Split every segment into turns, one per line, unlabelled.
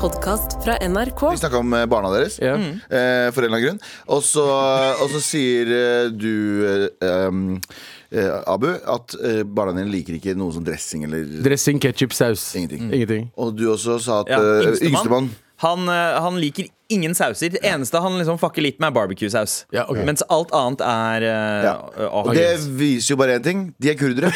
podkast fra NRK.
Vi snakka om eh, barna deres,
Ja.
eh, for en eller annen grunn. Og så, og så sier eh, du, eh, um, eh, Abu, at eh, barna dine liker ikke noe sånn dressing eller
Dressing, ketchup, saus.
Mm.
Ingenting.
Ingenting.
Og du også sa at
Ja,
eh,
Yngstemann.
Yngstemann
Han, eh, han liker ingen sauser. Det eneste han liksom fucker litt med, er barbecue-saus.
Ja, ok.
Mens alt annet er eh,
ja.
eh,
Og
ok.
det viser jo bare én ting. De er kurdere.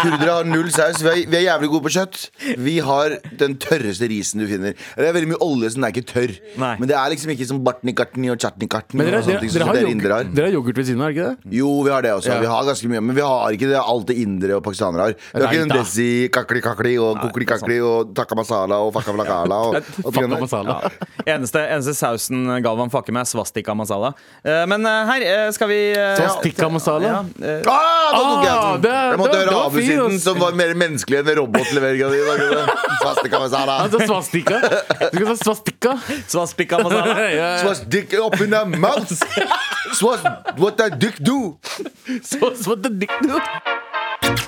kurdere har null saus. Vi er, vi er jævlig gode på kjøtt. Vi har den tørreste risen du finner. Det er veldig mye olje som er ikke tørr.
Nei.
Men det er liksom ikke som bartnikartni og chartnikartni.
Men dere,
og sånne
dere,
ting
dere,
som
har
dere indere
yoghurt,
har.
dere har yoghurt ved siden av, er ikke det?
Jo, vi har det også.
Ja.
Vi har ganske mye, men vi har ikke det alt det indere og pakistanere har. Vi har ikke
Nei,
den
da.
desi, kakli kakli og kokli kakli og takka masala og fakka flakala og, og
Fuck
tingene
off,
der.
masala.
Eneste, eneste sausen Galvan fucker med, er svastika masala. Eh, men eh, her eh, skal vi eh,
Stikka masala.
ja, eh,
Ah, nå tok jeg
Ah,
den!
det-
jeg måtte
det- det
høre
var fin,
avsiden,
ass.
som var mer menneskelig enn robotleveringa di. Svastika masala.
Han sa svastika. Du skal si svastika.
Svastika masala.
Ja,
Swas dick up in their mouth. Swas what that dick do.
så- så det dikt du.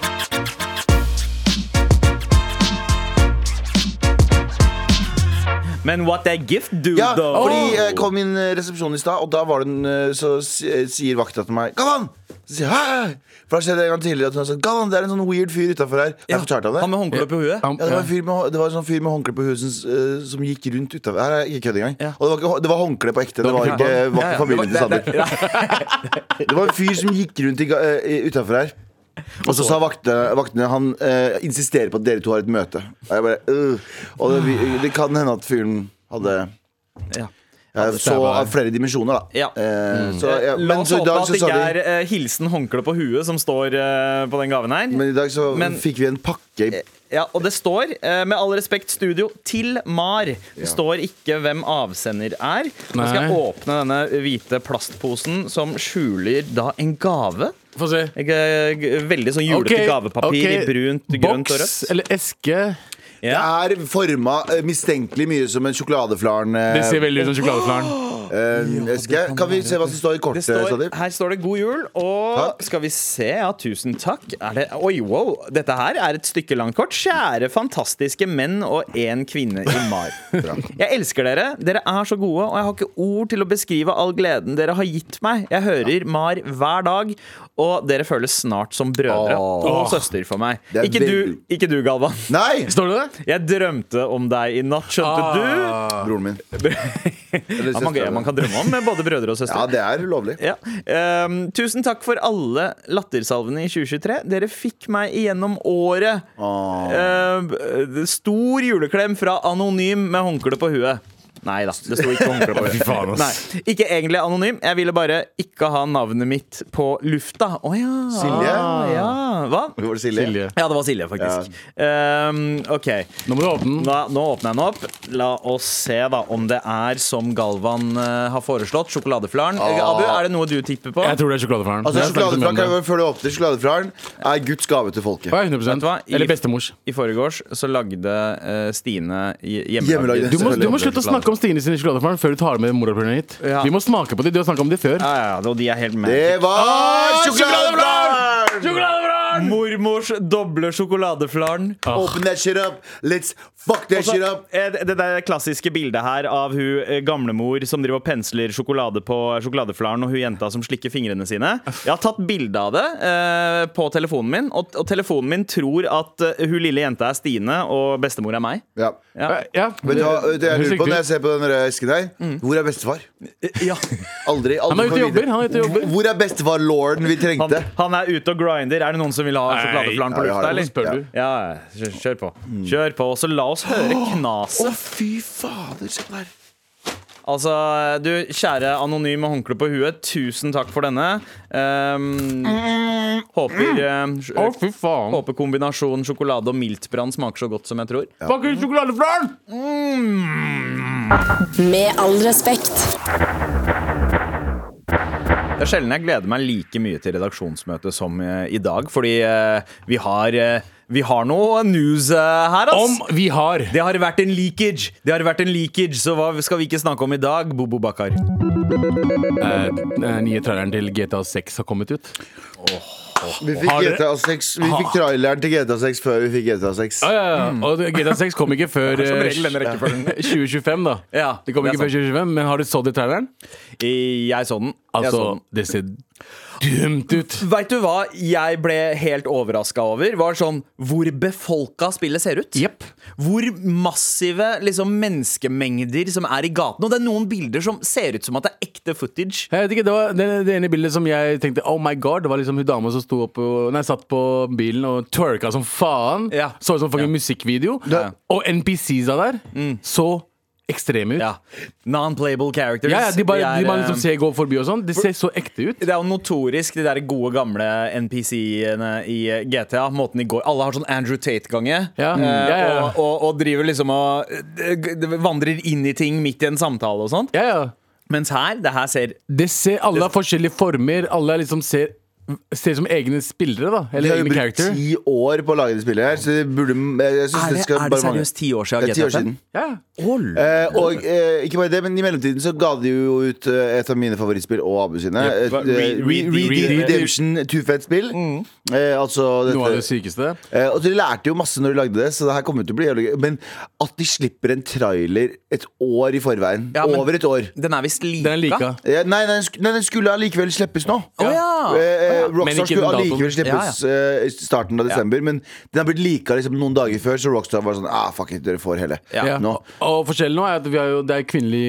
Men what that gift do,
Ja,
though?
fordi jeg kom inn eh, resepsjonen i stad, og da var det en, eh, så si- eh, sier vakta til meg Galvan! Så sier jeg «Hæ?» For da skjedde det en gang tidligere at hun har sagt Galvan, det er en sånn weird fyr utafor her. Har Jeg fortalte om det.
Han med håndkle på huet?
Han-
Ja, det var en fyr med, det var en sånn fyr med håndkle på huset som, eh, som gikk rundt utafor. Her er jeg ikke kødd engang.
Ja.
Og det var, ikke, hå- det var håndkle på ekte. Det var ikke, var ikke
Ja, ja,
familien til
det var- det-
Sander.
det- ja.
Det var en fyr som gikk rundt utafor her. Og så sa vakte- vaktene Han eh, insisterer på at dere to har et møte. Og jeg bare øh. Og det, vi- det kan hende at fyren hadde
Ja.
eh, så
stemmer.
av flere dimensjoner, da.
Ja. Mm.
Eh, så, ja.
La
Men
oss
så i
håpe
dag
at
så
det
sa
ikke
de
er eh, hilsen håndkle på huet som står eh, på den gaven her.
Men i dag så
Men- Eh,
fikk vi en pakke i
ja, og det står, eh, med all respekt, studio til Mar. Det står ikke hvem avsender er. Nå skal
Nei.
jeg åpne denne hvite plastposen som skjuler da en gave.
Få se.
Jeg, eh, g- Veldig sånn
Ok,
julete gavepapir
ok.
i brunt, grønt og
Boks
rødt.
eller eske.
Det
Ja.
er forma eh, mistenkelig mye som en sjokoladeflaren eh,
Det ser veldig ut som sjokoladeflaren.
eh, eske. Kan vi se hva som står i
Det
kortet?
står,
Sadir?
her står det 'God jul', og
Takk.
skal vi se Ja, tusen takk. Er det, oi, wow. Dette her er et stykke langt kort. Kjære fantastiske menn og én kvinne i Mar. Jeg elsker dere. Dere er så gode, og jeg har ikke ord til å beskrive all gleden dere har gitt meg. Jeg hører Mar hver dag, og dere føles snart som brødre
Åh.
og søster for meg.
Det er
Ikke du, ikke du, Galvan.
Nei!
Står det det? Ah.
Jeg drømte om deg i natt, skjønte du?
Broren min. Eller
Ja, man,
søsteren.
man kan drømme om både brødre og søstre.
Ja, det er ulovlig.
Ja. Ehm, tusen takk for alle lattersalvene i 2023. Dere fikk meg igjennom året. Ehm, eh, stor juleklem fra Anonym med håndkle på huet. Nei da, det sto ikke håndkle på huet. Nei, ikke egentlig anonym. Jeg ville bare ikke ha navnet mitt på lufta. Å ja.
Silje?
Ah, ja. Hva?
Hvor var det Silje?
Silje.
Ja, det var Silje, faktisk. Ehm, OK.
Nå må du åpne den.
Nå, nå åpner jeg den opp. La oss se da om det er som Galvan eh, har foreslått. Sjokoladeflaren.
Ah.
Eh, Abu, er det noe du tipper på?
Jeg tror det er sjokoladeflaren.
Altså,
Jeg har snakket mye om
sjokoladeflaren kan
det.
jeg før du åpner sjokoladeflaren, er Guds gave til folket.
Ja, 100
Vet du hva? I-
Eller bestemors.
I forgårs så lagde eh, Stine hjemmelagde
Hjemmelagde.
Du må, du må
Selvfølgelig
slutte å snakke om Stine sin sjokoladeflaren før du tar med morapulerne hit.
Ja.
Vi må smake på dem. Du har snakket om dem før.
Ja, ja, ja, og de er helt med.
Det var
Ah,
sjokoladeflaren!
Sjokoladeflaren!
Mormors doble sjokoladeflaren.
Open that shit up. Let's fuck that
Ah. Og så,
shit up.
eh, Det det der klassiske bildet her av hun eh, gamlemor som driver og pensler sjokolade på sjokoladeflaren, og hun jenta som slikker fingrene sine. Jeg har tatt bilde av det eh, på telefonen min, og, og telefonen min tror at eh, hun lille jenta er Stine, og bestemor er meg.
Ja.
Ja. ja.
Vet du hva vet du hva jeg lurer på
Høres riktig
når
ut.
jeg ser på den der esken der?
Mm.
Hvor er bestefar? Eh,
Ja.
Aldri, aldri
Han er
får
ute og
vite.
jobber. Han er ute og jobber.
Hvor er bestefar-lorden vi
Han,
trengte?
han er ute og grinder. Er det noen som vil ha
Nei.
sjokoladeflaren
Ja,
på
vi har
lufta,
det.
eller?
Spør
Ja.
du?
Ja, ja, kjør, kjør på. Kjør på, og så la oss høre knaset.
Å, fy fader, se på det her.
Altså, du kjære anonym med håndkle på huet, tusen takk for denne. Ehm, håper, eh, sj-
Mm. Å, fy faen.
håper kombinasjonen sjokolade og miltbrann smaker så godt som jeg tror.
Fuckings sjokoladeflaren!
Med all respekt.
Det er sjelden jeg gleder meg like mye til redaksjonsmøtet som eh, i dag, fordi eh, vi har eh, vi har noe news eh, her, ass.
Om vi har
Det har vært en leakage, Det har vært en leakage, så hva skal vi ikke snakke om i dag, Bobo Bakkar?
eh, Den nye traileren til GTA 6 har kommet ut.
Å,
Vi fikk
Har dere-
GTA 6 Vi fikk traileren til GTA 6 før vi fikk GTA 6.
Ja, ja, ja. Og det- GTA 6 kom ikke før
Som
eh,
regel denne rekkefølgen.
2025, da.
Ja,
det kom
det er
ikke før 2025, men har du så det i traileren?
Jeg så den. Jeg så
sånn.
Altså,
den.
det ser dumt ut.
Veit du hva jeg ble helt overraska over? Var sånn hvor befolka spillet ser ut.
Jepp.
Hvor massive liksom, menneskemengder som er i gatene. Og det er noen bilder som ser ut som at det er ekte footage.
Jeg vet ikke, Det var det, det ene bildet som jeg tenkte Oh my god, det var liksom hun dama som sto opp og, nei, satt på bilen og twerka som faen.
Ja.
Så ut som fucking musikkvideo.
Det-
Og NPC-sa der så ekstreme ut. Ja.
Ja. Non-playable characters.
Ja, de bare,
er,
de bare
eh,
liksom ser, går forbi og sånn. Det ser så ekte ut.
det er jo notorisk, de der gode gamle NPC-ene i eh, GTA. Måten de går Alle har sånn Andrew Tate-gange.
Ja. Mm,
eh,
Ja, ja, ja.
Og, og, og driver liksom og eh, g- g- vandrer inn i ting midt i en samtale og sånt.
Ja, ja.
Mens her, det her ser
Det ser, alle har forskjellige former. Alle er liksom ser Ser ut som egne spillere, da.
De
Eller
har jo
egne
brukt
character.
ti år på å lage det spillet her, så det burde jeg synes
Er det,
skal
er det
bare mangle.
seriøst ti år siden?
Det er ti år
GTA fem?
siden.
Ja.
Hold.
Eh, og eh, ikke bare det, men i mellomtiden så ga de jo ut eh, et av mine favorittspill og Abu sine. Et,
hva- Re-
eh,
Re-
Re-
Re-
Redemption 2-fett-spill.
Mm.
Eh, altså
Noe av det
dette
sykeste.
eh, Og de lærte jo masse når de lagde det, så det her kommer til å bli jævlig gøy. Men at de slipper en trailer et år i forveien.
Ja, men-
over et år.
Den er visst lika.
Den er lika.
Eh, nei, nei, den sk- nei, den skulle allikevel slippes nå.
Å ja.
Eh, eh,
Men
Rockstar
ikke den
skulle
datoen.
allikevel slippes eh, i starten av desember, men den har blitt lika liksom, noen dager før, så Rockstar var sånn ah, fuck it, dere får hele
Ja.
nå.
Og forskjellen nå er at vi har jo, det er kvinnelig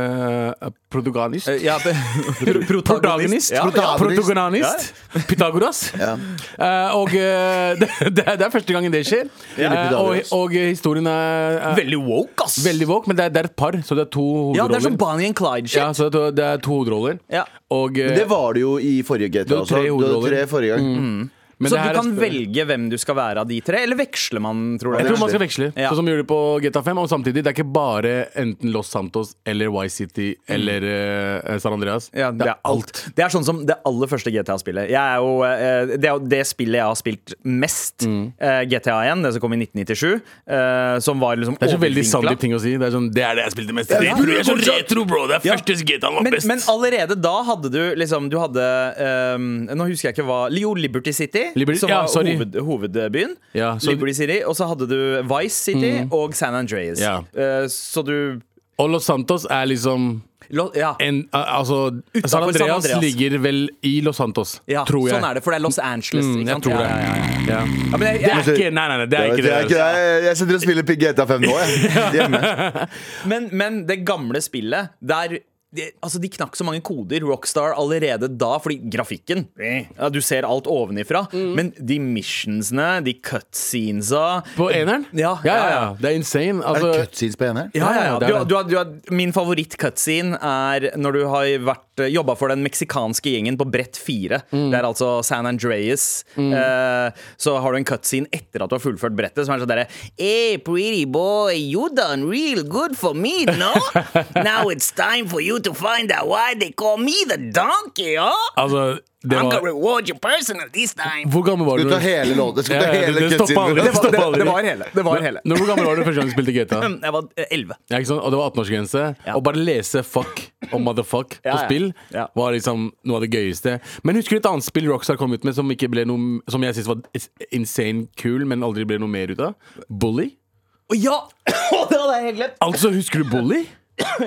uh, protagonist.
Eh, ja, det-
Protagonist.
Ja, ja.
Protagonist. Pythagoras. Eh, og eh, det, det er det er første gangen det skjer. Eh, og,
Pythagoras.
og historien er, er
Veldig woke, ass!
veldig våk, men det er, det er et par, så det er to
ja, det er
hovedroller.
som Bonnie and Clyde-shit.
Ja, så det er to, det er to hovedroller.
Ja.
Og, eh,
Men det var det jo i forrige
Det
GTA
var
også.
tre Mm.
Det var
hovedroller.
tre forrige gang.
men
så
det her
du
er
kan
spennende.
velge hvem du skal være av de tre, eller veksler man, tror
Jeg
dere?
tror man skal veksle,
Ja.
sånn som vi gjorde på GTA 5. Og samtidig, det er ikke bare enten Los Santos eller Y City eller eh, San Andreas.
Ja, det er alt. Det er sånn som det aller første GTA-spillet. Jeg er jo, eh, Det er jo det spillet jeg har spilt mest.
Mm.
eh, GTA 1, det som kom i 1997. eh, Som var liksom
Det er så veldig
overvinkla.
Sandeep ting å si. Det er sånn, det er det jeg spilte mest. Retro, jeg er så retro, bro! Det er første GTA var
sånn- men,
best.
men allerede da hadde du liksom Du hadde ehm, Nå husker jeg ikke hva Jo, Liberty City,
Liberty-
som
ja,
var
sorry.
hoved, hovedbyen.
Ja, så-
Liberty City, Og så hadde du Vice City og San Andreas.
Ja.
Eh, så du
Og Los Santos er liksom
lo, Ja,
en, al- Altså,
Utenfor
San Andreas,
San Andreas.
ligger vel i Los Santos,
ja
tror jeg.
sånn er det, for det er Los Angeles.
Mm,
ikke
jeg
sant?
tror det.
Ja, ja, ja.
Ja.
Ja, men jeg,
Det er
jeg,
ikke Nei, nei, nei, det er ikke det. altså.
det er ikke det. Jeg- Jeg sitter og spiller Pig GTA 5 nå, jeg. Hjemme.
men, men det gamle spillet, der det, altså De knakk så mange koder, Rockstar, allerede da. Fordi grafikken
Eh.
ja, Du ser alt ovenifra. Men de missionsene, de cutscenesa
På eneren?
Ja,
ja,
ja,
ja,
ja.
Det er
Er
insane.
det
Altså,
cutscenes på eneren?
Ja, ja,
Ja,
ja.
ja, det er
Du, har-
det.
du, har- du, har- min favoritt-cutscene er når du har vært, jobba for den meksikanske gjengen på brett fire.
Mm.
Det er altså San Andreas. Eh, så har du en cutscene etter at du har fullført brettet, som er sånn derre Hey, pretty boy, you done real good for me, no? Now it's time for you to find out why they call me the donkey, huh?
altså det
I'm gonna
var
reward you personal this time.
Hvor gammel var
Skal
du?
du ta hele låten? Skal du ta
Ja, ja,
hele
det- det stopper aldri.
cutscenen?
Det var- det- det var
hele. Det var hele.
Når, hvor gammel var du første gang du spilte GTA?
Jeg var eh, elleve.
Ja, ikke sant? Og det var 18-årsgrense.
Ja.
Å bare lese fuck og motherfuck
Ja,
på
ja.
spill
Ja.
var liksom noe av det gøyeste. Men husker du et annet spill Rockstar kom ut med som, ikke ble noe, som jeg syntes var is- insane kul, men aldri ble noe mer ut av? Bully?
Å ja! det hadde jeg helt glemt.
Altså, husker du Bully?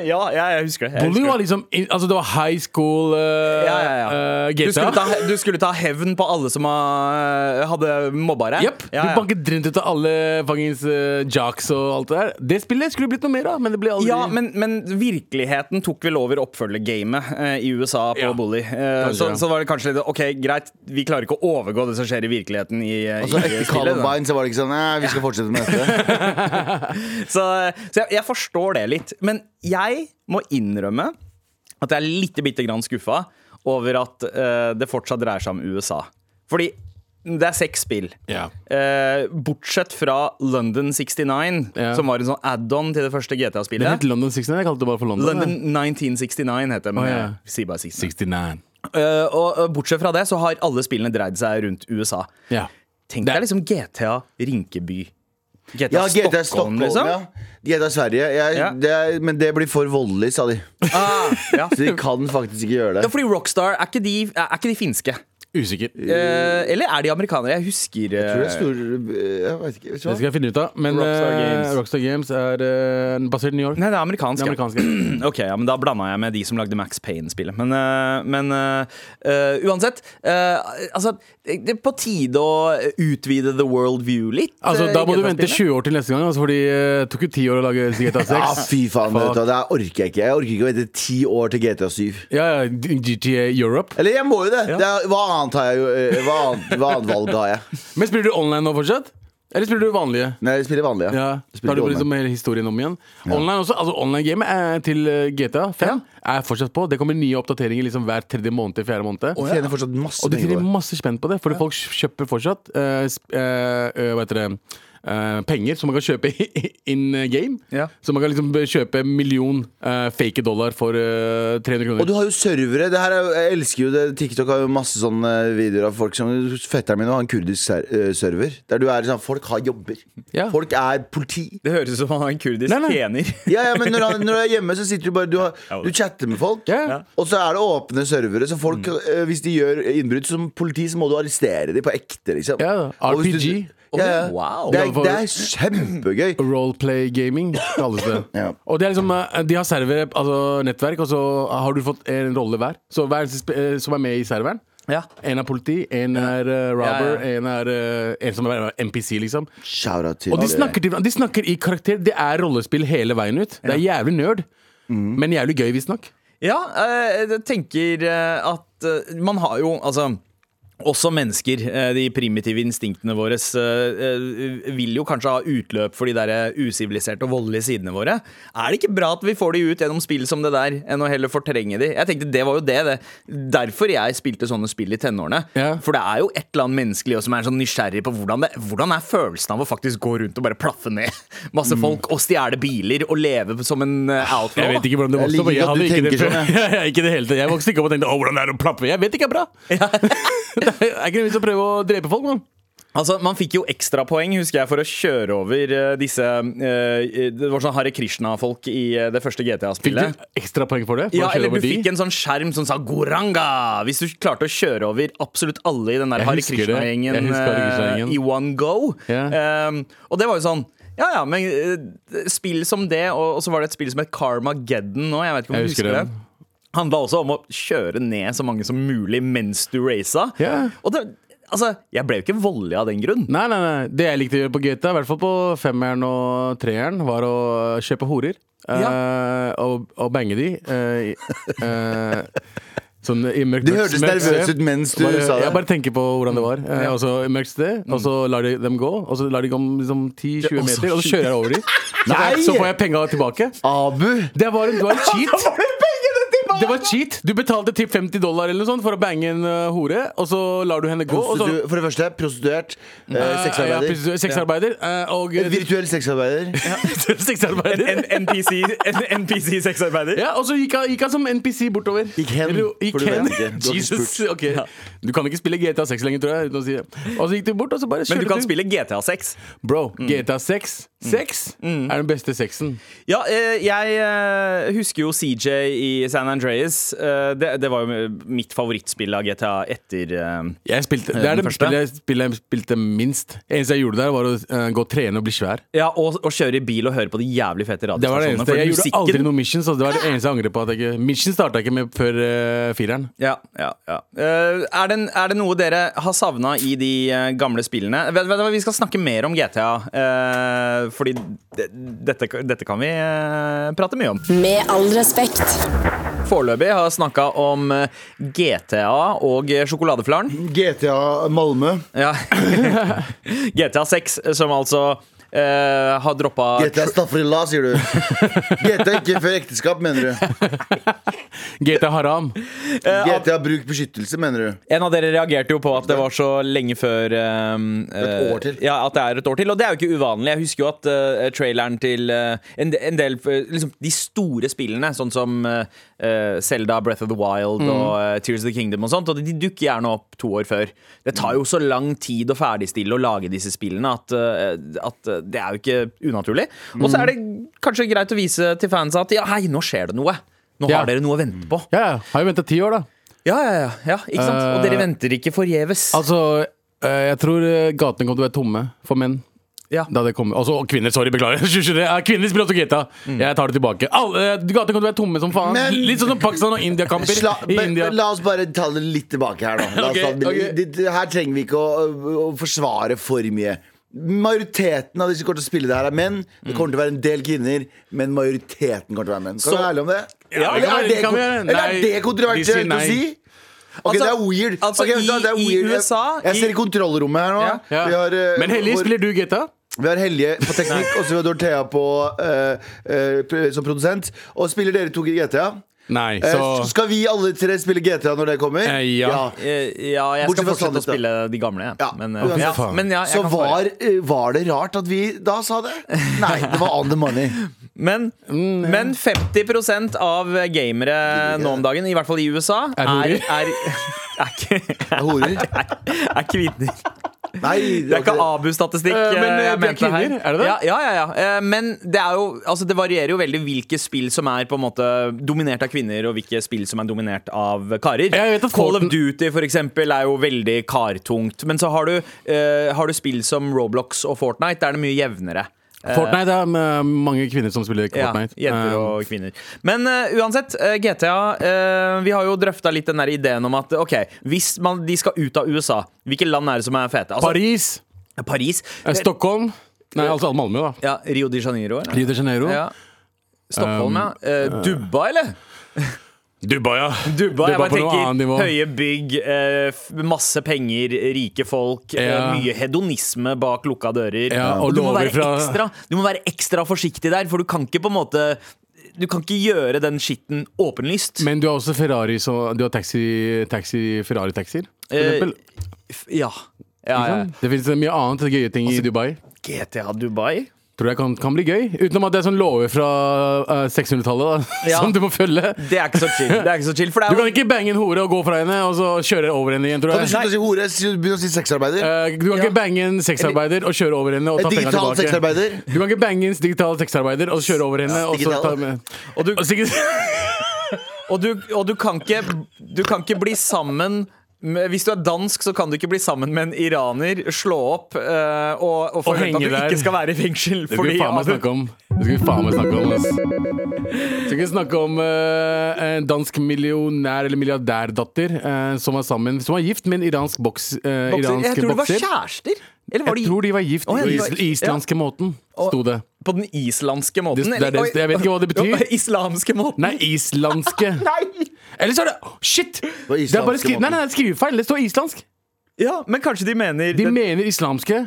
Ja, ja, jeg husker det. Jeg
Bully
husker det.
var liksom in- Altså, det var high school eh,
Ja, ja, ja.
eh,
Du,
GTA.
skulle ta, du skulle ta hevn på alle som eh, hadde mobba deg?
Jepp.
Ja,
Du
ja.
banket dritt ut av alle fuckings eh, jocks og alt det der. Det spillet skulle blitt noe mer av, men det ble aldri
ja men, men virkeligheten tok vel over oppfølgergamet eh, i USA på
Ja.
Bully. Eh,
Kanskje,
så,
ja.
så var det kanskje litt OK, greit, vi klarer ikke å overgå det som skjer i virkeligheten. i, eh,
Altså,
i
etter
spillet, da.
Columbine så var det ikke sånn Nei, vi skal fortsette med dette.
Så, så jeg, jeg forstår det litt. Men jeg må innrømme at jeg er lite bitte grann skuffa over at eh, det fortsatt dreier seg om USA. Fordi det er seks spill.
Ja.
Eh, bortsett fra London 69,
Ja.
som var en sånn add-on til det første
Det
GTA-spillet.
het London 69. Jeg kalte det bare for London.
London 1969 heter det. Men
Å, ja.
jeg sier bare 69.
69.
Eh, og eh, bortsett fra det så har alle spillene dreid seg rundt USA.
Ja.
Tenk
Det-
deg liksom GTA Rinkeby. GTA,
Ja, GTA Stockholm, liksom. Ja. GTA Sverige. Jeg,
Ja.
det er, men det blir for voldelig, sa de.
Ah, ja.
Så de kan faktisk ikke gjøre
Ja,
det.
fordi Rockstar, er ikke de, er ikke de finske?
Usikker. Det
Eh, eller er de amerikanere? Jeg
Tror
husker
det
eh,
er store Jeg vet ikke. Vet du
skal
hva?
jeg finne ut av. Men
Rockstar
eh,
Games.
Rockstar Games er eh, basert i New York.
Nei, det er amerikansk.
Det er
ja.
amerikanske.
Ok, ja, men Da blanda jeg med de som lagde Max Payne-spillet. Men, øh, men øh, øh, uansett øh, Altså, det er på tide å utvide the world view litt.
Altså,
øh,
da
i
må du vente 20
GTA-spillet.
år til neste gang, altså, fordi det tok jo 10 år å lage GTA 6.
Ja, fy faen, vet du, hva, det her orker jeg ikke. Jeg orker ikke å vente ti år til GTA 7.
Ja, ja, GTA Europe.
Eller jeg må jo det! det er, hva, annet har jeg, jo- eh, hva, annet, hva annet valg har jeg?
Men spiller du online nå fortsatt? Eller spiller du vanlige?
Nei, jeg spiller vanlig.
Ja,
Jeg
Da har
Spiller
du
ikke
liksom
online.
hele historien om igjen. Online også, altså Online-gamet eh, til eh, GTA 5 er fortsatt på. Det kommer nye oppdateringer liksom hver tredje måned til fjerde måned.
Og tjener fortsatt masse
Og de
penger
tjener
på det.
masse spenn på det, fordi folk kjøper fortsatt eh, sp- eh, eh, hva heter det eh, penger som man kan kjøpe in eh, game.
Ja.
Så man kan liksom kjøpe en million eh, fake dollar for eh, 300 kroner.
Og du har jo servere. Det her er, jo- jeg elsker jo det. TikTok har jo masse sånne videoer av folk som Fetteren min har en kurdisk ser, eh, server. Der du er sånn Folk har jobber.
Ja.
Folk er politi.
Det høres ut som han har en kurdisk
Nei, nei.
tjener.
Ja, ja, men når, han, når du er hjemme, så sitter du bare Du, har, du chatter med folk.
Ja.
Og så er det åpne servere, så folk, eh, hvis de gjør innbrudd som politi, så må du arrestere dem på ekte, liksom.
Ja,
Og hvis du-
RPG.
Ja, ja.
Wow.
Det, er, det er kjempegøy.
Roleplay gaming kalles det.
Ja.
Og det er liksom, eh, De har server, altså nettverk, og så har du fått en rolle hver. Så hver som sp- eh, som er med i serveren.
Ja.
En er politi, en er eh, robber,
Ja, ja.
en er eh, en som er NPC, liksom.
Shout-out til
Og de snakker, til, de snakker i karakter. Det er rollespill hele veien ut. Det er jævlig nerd, men jævlig gøy, visstnok.
Ja, øh, jeg tenker øh, at øh, man har jo Altså også mennesker, øh, de primitive instinktene våre, øh, øh, vil jo kanskje ha utløp for de der eh, usiviliserte og voldelige sidene våre. Er det ikke bra at vi får de ut gjennom spill som det der, enn å heller fortrenge de? Jeg tenkte det var jo det, det. Derfor jeg spilte sånne spill i tenårene.
Ja.
For det er jo et eller annet menneskelig også som er sånn nysgjerrig på hvordan, det, hvordan er følelsen av å faktisk gå rundt og bare plaffe ned masse folk og stjele biler og leve som en øh, outlaw.
Mm. Jeg vet ikke hvordan det
Jeg
vokste opp.
liker at
Jeg,
du
hadde ikke
tenker
det før.
sånn,
Jeg, er ikke i det hele tatt. jeg vokste ikke opp og tenkte 'Å, hvordan er det å plappe'? Jeg vet ikke jeg er bra. det er er ikke noe vits å prøve å drepe folk, mann.
Altså, Man fikk jo ekstrapoeng husker jeg, for å kjøre over eh, disse eh, Det var sånn Hare Krishna-folk i eh, det første
Fikk
GTA-spillet.
du ekstra poeng for det? For
Ja,
å kjøre
eller
over
du
de?
fikk en sånn skjerm som sa 'Goranga' hvis du klarte å kjøre over absolutt alle i den der
Jeg
Hare
husker det.
Krishna-gjengen
Jeg husker Hare Krishna-gjengen.
eh, i one go.
Ja.
Ehm, og det var jo sånn ja, ja, men eh, spill som det, og, og så var det et spill som het Karmageddon nå. Jeg vet ikke om
Jeg
du
husker
husker det.
den.
Handla også om å kjøre ned så mange som mulig mens du raca.
Ja.
Og det, altså, jeg ble jo ikke voldelig av den grunn.
Nei, nei, nei. Det jeg likte å gjøre på GTA, i hvert fall på femmeren og treeren, var å kjøpe horer. eh, og, og bange de. eh, i- eh, sånn i mørkt
Det hørtes
mørkt
nervøs
sted.
ut mens du
bare,
sa det. Mm.
Jeg bare tenker på hvordan det var. Eh, og så i mørkt sted, og så lar de dem gå. Og så lar de gå om liksom, 10-20
også
meter, og så kjører jeg over dem.
Nei! Ah.
Så får jeg penga tilbake.
eh, Abu!
Det var en, det var en cheat. Det var cheat. Du betalte typ 50 dollar eller noe sånt for å bange en eh, hore, og så lar du henne gå. Og så,
Prostitu- For det første, prostituert. eh,
Ja,
Sexarbeider.
prostitu- sexarbeider. eh, Og
Virtuell sexarbeider.
sexarbeider.
NPC-sexarbeider.
Ja, og så gikk han, gikk han som NPC bortover.
Gikk hen,
Eller, gikk
for du vet ikke.
hen.
Du har ikke
Jesus,
spurt.
ok Du kan ikke spille GTA 6 lenger, tror jeg. Uten å si det. Og så gikk du bort, og så bare
Men du kan
kjørte
spille GTA 6.
Bro, GTA 6 Sex er den beste sexen.
Ja, eh, jeg eh, husker jo CJ i San Andreas. Eh, Det, det var jo mitt favorittspill av GTA etter eh,
Jeg spilte, det er
Den
det
første?
spillet jeg, spillet jeg spilte minst. Eneste jeg gjorde der, var å eh, gå og trene og bli svær.
Ja, og, og kjøre i bil og høre på de jævlig fete
Det var det
radiostasjonene.
eneste.
for
Jeg gjorde
musikken-
aldri noe missions. Og det var det eneste jeg angrer på. At jeg ikke, mission starta jeg ikke med før eh, fireren.
Ja, ja, ja. Eh, er, det, er det noe dere har savna i de eh, gamle spillene? Vet, vet du hva, Vi skal snakke mer om GTA, eh, fordi det, dette, dette kan vi eh, prate mye om.
Med all respekt.
Foreløpig har jeg snakka om eh, GTA og eh, sjokoladeflaren.
GTA Malmö.
Ja. GTA 6, som altså eh, har droppa
GTA Staffrilla, sier du. GTA ikke før ekteskap, mener du.
GTA Haram.
GTA Bruk beskyttelse, mener du.
En av dere reagerte jo på at det var så lenge før ehm, eh,
år til.
Ja, at det er et år til. Og det er jo ikke uvanlig. Jeg husker jo at eh, traileren til eh, en, de- en del eh, liksom, De store spillene, sånn som Selda, Breath of the Wild og eh, Tears of the Kingdom og sånt, og de dukker gjerne opp to år før. Det tar jo så lang tid å ferdigstille og lage disse spillene at, eh, at eh, det er jo ikke unaturlig. Og så er det kanskje greit å vise til fansa at ja, hei, nå skjer det noe. Nå
Ja.
har dere noe å vente på.
Ja, ja. Har jo venta ti år, da.
Ja, ja, ja, ja, ikke sant? Og dere venter ikke forgjeves.
Altså, eh, jeg tror eh, gatene kommer til å være tomme for menn.
Ja.
Da det kommer Altså, og kvinner, sorry, beklager. 2023 er kvinners Brot og GTA.
Mm.
Jeg tar det tilbake. Alle, eh, gatene kommer til å være tomme som faen.
Men-
Litt sånn som Pakistan og India-kamper.
Sla,
I
men,
India.
men la oss bare ta det litt tilbake her, da. La oss
Ok,
ta det,
ok.
det, det, her trenger vi ikke å, å forsvare for mye. Majoriteten av de som kommer til å spille det her, er menn. Det kommer til å være en del kvinner, men majoriteten kommer til å være menn. Kan
Så-
du være ærlig om det?
Ja,
eller,
kan
er
vi-
det,
kan vi
kon-
gjøre?
eller
Nei,
er det
de sier
kontroversielt å
nei.
si? Ok,
Altså,
det er weird.
altså,
Ok, vet du hva, det er
i- i
weird. Jeg-
USA,
Jeg
i-
ser i kontrollrommet her nå.
Ja.
Vi har, eh,
men Hellig,
vår-
spiller du GTA?
vi har Helje på teknikk, og så vi har Dorthea på, eh, eh, pr- som produsent. Og spiller dere to GTA?
Nei,
Eh,
så
s- Skal vi alle tre spille GTA når det kommer?
Eh, ja.
Eh, ja, jeg
Bortsett
skal
fra
fortsette å
Sandnes, da.
spille de gamle, jeg.
Ja,
Men, eh,
uansett.
ja,
Faen.
men ja, jeg
Så
kan svare.
var, eh, var det rart at vi da sa det? Nei, det var on the money.
Men,
Mm,
men 50 av gamere nå om dagen, i hvert fall i USA,
Er
er,
horer.
er, er, ikke-
Horer.
er kvinner.
Nei,
Det er ikke ABU-statistikk.
Eh, men,
eh,
eh,
jeg
det er
mente her.
kvinner, er det det?
Ja, ja, ja, ja. Eh, Men det, er jo, altså, det varierer jo veldig hvilke spill som er på en måte dominert av kvinner, og hvilke spill som er dominert av
Jeg
karer.
vet at
Call of
Fortnite-
Duty for eksempel, er jo veldig kartungt. Men så har du, eh, har du spill som Roblox og Fortnite, der er det mye jevnere. Eh,
Fortnite er med mange kvinner som spiller Fortnite. Eh, um.
ja, jenter og kvinner. Men eh, uansett, eh, GTA eh, Vi har jo drøfta litt den der ideen om at ok, hvis man, de skal ut av USA, hvilke land er det som er fete?
Eh, Paris,
Paris. Paris
eh, Stockholm Nei, altså Malmö, da.
ja, Rio de Janeiro. eller?
Rio de Janeiro. Um,
Ja. Stockholm, ja. Eh, Dubai, eller?
Dubai, ja.
Dubai, jeg
Dubai
bare
på noe annet
tenker
nivå.
Høye bygg, eh, f- masse penger, rike folk. eh,
Ja.
mye hedonisme bak lukka dører.
Ja,
og
og
du må,
lover
være
fra-
ekstra, du må være ekstra forsiktig der, for du kan ikke på en måte Du kan ikke gjøre den skitten åpenlyst.
Men du har også Ferrari, så du har taxi, taxi Ferrari-taxier. for
Eh,
eksempel.
F- ja. ja, Altså- ja.
Ikke sant? Det finnes mye annet gøye ting i Dubai.
GTA Dubai?
Tror jeg kan, kan bli gøy. Utenom at det er sånn lover fra eh, 600-tallet da,
Ja.
som du må følge.
Det er ikke så chill. Det er ikke så chill for det
Du
er
kan ikke bange en hore og gå fra henne og så kjøre over henne igjen, tror
Kan du
jeg.
slutte å si hore? Si- Begynn å si sexarbeider.
Eh, du kan ikke bange en sexarbeider og kjøre over henne og ta pengene
Digital
tilbake.
sexarbeider.
Du kan ikke bange en digital sexarbeider og kjøre over henne og så
digital.
ta med og du,
Og du, og du, kan, ikke, du kan ikke bli sammen med, hvis du er dansk, så kan du ikke bli sammen med en iraner, slå opp eh, og, og forvente
henge
at du
der.
ikke skal være i fengsel.
Det skal vi
Fordi,
faen meg snakke om. Det skal vi faen meg snakke om, ass. Skal vi snakke om eh, en dansk millionær- eller milliardærdatter eh, som var sammen Som var gift med en iransk boks, eh,
bokser,
iransk
jeg tror det var
bokser.
kjærester. Eller var
Jeg tror
de
de var gift
Å, ja,
på
de var-
is islandske måten, sto det.
på den islandske måten?
Det- det er
eller-
det- jeg vet ikke hva det betyr.
Jo, Islamske måten.
Nei, islandske. Eller så er det Shit!
var
Det er bare
islandske
skri nei, nei, det er skrivefeil. Det står islandsk.
Ja, men kanskje de
De
mener den-
mener islamske.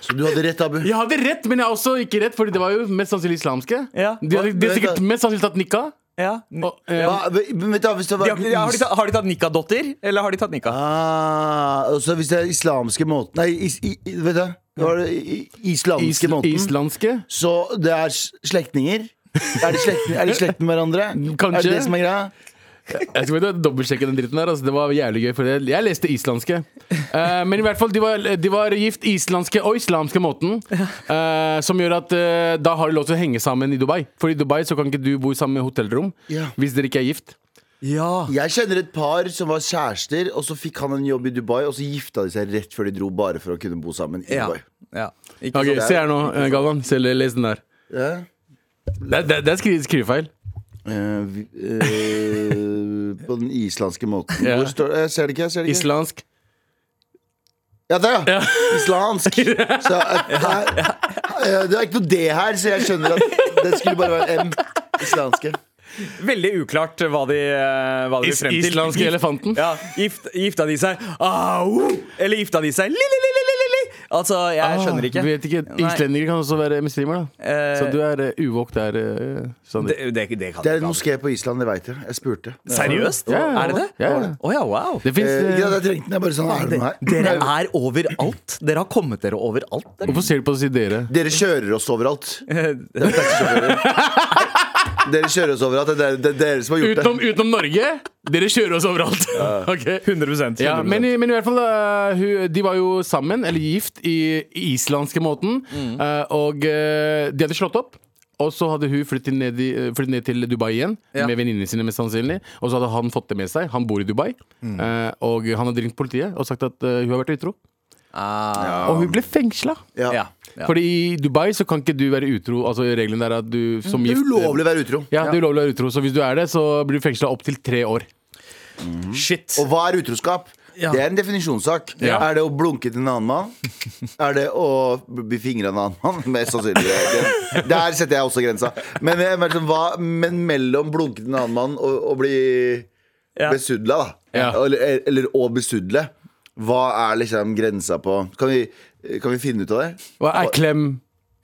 Så du hadde rett, Abu.
Jeg hadde rett, men jeg har også ikke rett, Fordi det var jo mest sannsynlig islamske.
Ja.
De hadde, de hadde sikkert mest sannsynlig tatt nikka.
ja.
Og, eh,
Hva, men vet du, hva, hvis det
de
var
har, de har, de tatt, har de tatt nikka-dotter, eller har de tatt nikka?
Ah, og så hvis det er islamske måten Nei, is, i, i- vet du det var det i- i- Islamske
isl-
måten
islandske.
Så det er s- slektninger Er de slekt, er de slekt med hverandre?
Kanskje.
Er det det som er greia?
Jeg skal bare dobbeltsjekke den dritten der. Altså, det var jævlig gøy, for jeg, jeg leste islandske. Eh, men i hvert fall, de var, de var gift islandske og islamske måten. eh, som gjør at eh, da har de lov til å henge sammen i Dubai. For i Dubai så kan ikke du bo i samme hotellrom
Ja.
hvis dere ikke er gift.
Ja.
Jeg kjenner et par som var kjærester Og så fikk han en jobb i Dubai Og så gifta de seg rett før de dro Bare for å kunne bo sammen i
ja.
Dubai
Ikke
Ok,
sant?
Se her nå, eh, Galvan. Se, le- les den der.
ja.
Det, det, det er skri, skrivefeil.
Eh, vi- eh, På den islandske måten
Ja.
Hvor står det? Jeg ser det ikke, jeg ser det ikke
Islandsk.
Ja, der ja. Islamsk. Så, eh, eh, eh, det er ikke noe D her, så jeg skjønner at det skulle bare være M. Islamske.
Veldig uklart hva de, eh, hva de vil
Is,
frem til.
islandske elefanten.
Ja, gift, gifta de seg au, Eller gifta de seg li, li, li, li, li, li. Altså, jeg skjønner ikke.
Ah, vet ikke.
Nei.
Islendinger kan også være muslimer, da.
Eh,
Så du er eh, uvåkt der, eh, Sander.
det, det, det
Det
kan jeg
er en
ikke.
moské på Island, det veit jeg. Jeg spurte.
ha. Seriøst?
Ja,
er det det? Å
ja,
ja.
ja.
wow.
Det fins
Eh, ikke at jeg trengte den, jeg bare sånn er det noe her?
Dere er overalt. Dere har kommet dere overalt. dere.
Hvorfor ser du på å si dere?
Dere kjører oss overalt. Dere taxisjåfører. Dere kjører oss overalt. Det er dere, det er dere som har gjort det.
Utenom, utenom Norge? Dere kjører oss overalt. Ok.
100
Ja, men, i- men i hvert fall, eh, hun, de var jo sammen, eller gift, i i islandske måten. eh, og eh, de hadde slått opp. Og så hadde hun flyttet ned, i, eh, flyttet ned til Dubai igjen
Ja.
med venninnene sine. mest sannsynlig Og så hadde han fått det med seg. Han bor i Dubai. Eh, og han hadde ringt politiet og sagt at eh, hun har vært utro.
Ah,
Og hun ble fengsla.
Ja.
ja. ja.
Fordi i Dubai så kan ikke du være utro. Altså regelen er at du som
Det er
gift
ulovlig å være utro.
Ja, det er ulovlig å være utro. Så hvis du er det, så blir du fengsla opptil tre år.
Shit.
Og hva er utroskap?
Ja.
Det er en definisjonssak.
Ja.
Er det å blunke til en annen mann? Er det å bli fingra av en annen mann? Mest sannsynlig. Det- Der setter jeg også grensa. Men, eh, men liksom, hva, men mellom blunke til en annen mann og, og bli
Ja.
besudla, da.
Ja.
Eller, eller å besudle. Hva er liksom grensa på Kan vi, kan vi finne ut av det?
Hva er klem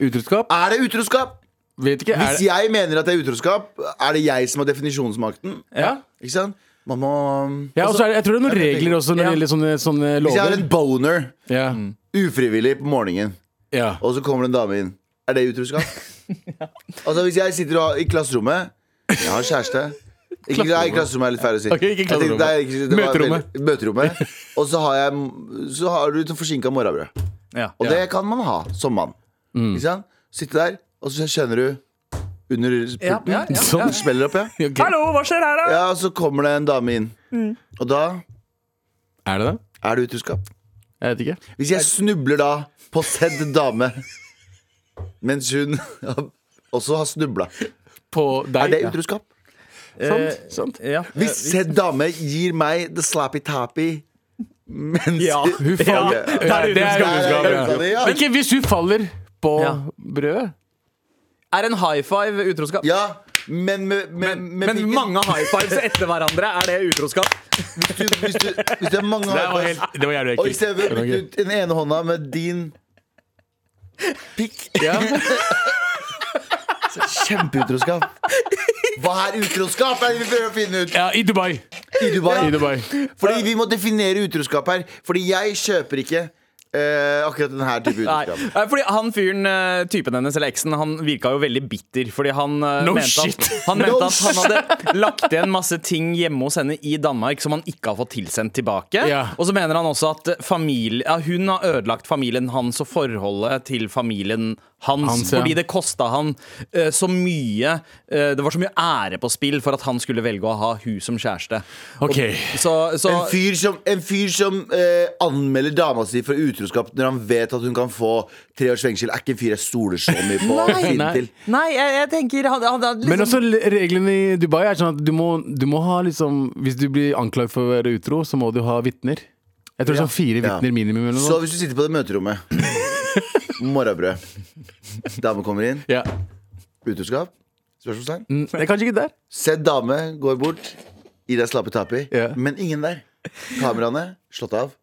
utroskap?
Er det utroskap?
Vet ikke. Er
Hvis
det,
jeg mener at det er utroskap, er det jeg som har definisjonsmakten?
ja.
Ikke sant? Man må
Ja, og så er det, jeg tror det er noen regler også når det
Ja.
gjelder sånne, sånne
Hvis jeg har
lover.
en boner
Ja.
ufrivillig på morgenen
Ja.
Og så kommer det en dame inn. Er det utroskap? Altså Hvis jeg sitter og har- i klasserommet Jeg har kjæreste. Ikke, nei, klasserommet er litt feil å si.
Ok,
Jeg
ikke
tenkte- nei, ikke- det var
Møterommet.
veldig- Møterommet. Og så har, jeg, så har du forsinka morgenbrød.
Ja.
Og det kan man ha som mann.
Mm.
Ikke sant? Sitte der, og så skjønner du under
Ja,
pulten.
ja, ja.
Sånn det smeller opp, ja.
Ok.
Hallo, hva skjer her, da?
ja. Og så kommer det en dame inn.
Mm.
Og da
Er det det?
er det utroskap.
Jeg vet ikke.
Hvis jeg snubler da på sedd dame mens hun også har snubla,
På
er
deg?
det utroskap?
Sant. sant.
Ja.
Hvis sedd dame gir meg the slappy tappy mens
Ja.
Hun faller.
Ja,
det er
det er
utroskap, ja.
utroskap. ja. Men Ikke hvis hun faller på
Ja.
brødet.
Er en high five utroskap?
Ja, men med, med, med
Men
pikken.
mange high fives etter hverandre, er det utroskap?
Hvis du- Hvis du hvis det er mange
Det var,
high fives,
helt, det var jævlig
og i
ekkelt.
stedet for å bytte ut den ene hånda med din pikk
Ja.
så Kjempeutroskap. Hva er utroskap? er det vi prøver å finne ut
ja, i Dubai.
i Dubai.
I Dubai.
Fordi vi må definere utroskap her. Fordi jeg kjøper ikke eh, akkurat denne type
Nei.
utroskap.
Nei, Fordi han fyren, eh, typen hennes eller eksen, han virka jo veldig bitter. Fordi han eh,
No
mente, at,
shit.
han, mente
No
at han hadde lagt igjen masse ting hjemme hos henne i Danmark som han ikke har fått tilsendt tilbake.
Ja.
Og så mener han også at eh, familie, ja, hun har ødelagt familien hans og forholdet til familien hans.
Hans, ja.
Fordi det kosta han eh, så mye eh, Det var så mye ære på spill for at han skulle velge å ha hun som kjæreste.
Ok.
Så, så
En fyr som, en fyr som eh, anmelder dama si for utroskap når han vet at hun kan få tre års fengsel, er ikke en fyr jeg stoler så mye på. å finne
Nei.
til.
Nei, jeg, jeg tenker han, han, han, liksom,
Men også le- reglene i Dubai er sånn at du må, du må ha liksom Hvis du blir anklaget for å være utro, så må du ha vitner. Jeg tror det er sånn fire
Ja.
vitner minimum. Eller noe.
Så hvis du sitter på det møterommet Morgenbrød. Dame kommer inn.
Ja.
Utroskap? Spørsmålstegn.
Mm, Det er kanskje ikke der.
Sett dame går bort, gir deg slappe tapi,
Ja.
men ingen der. Kameraene slått av.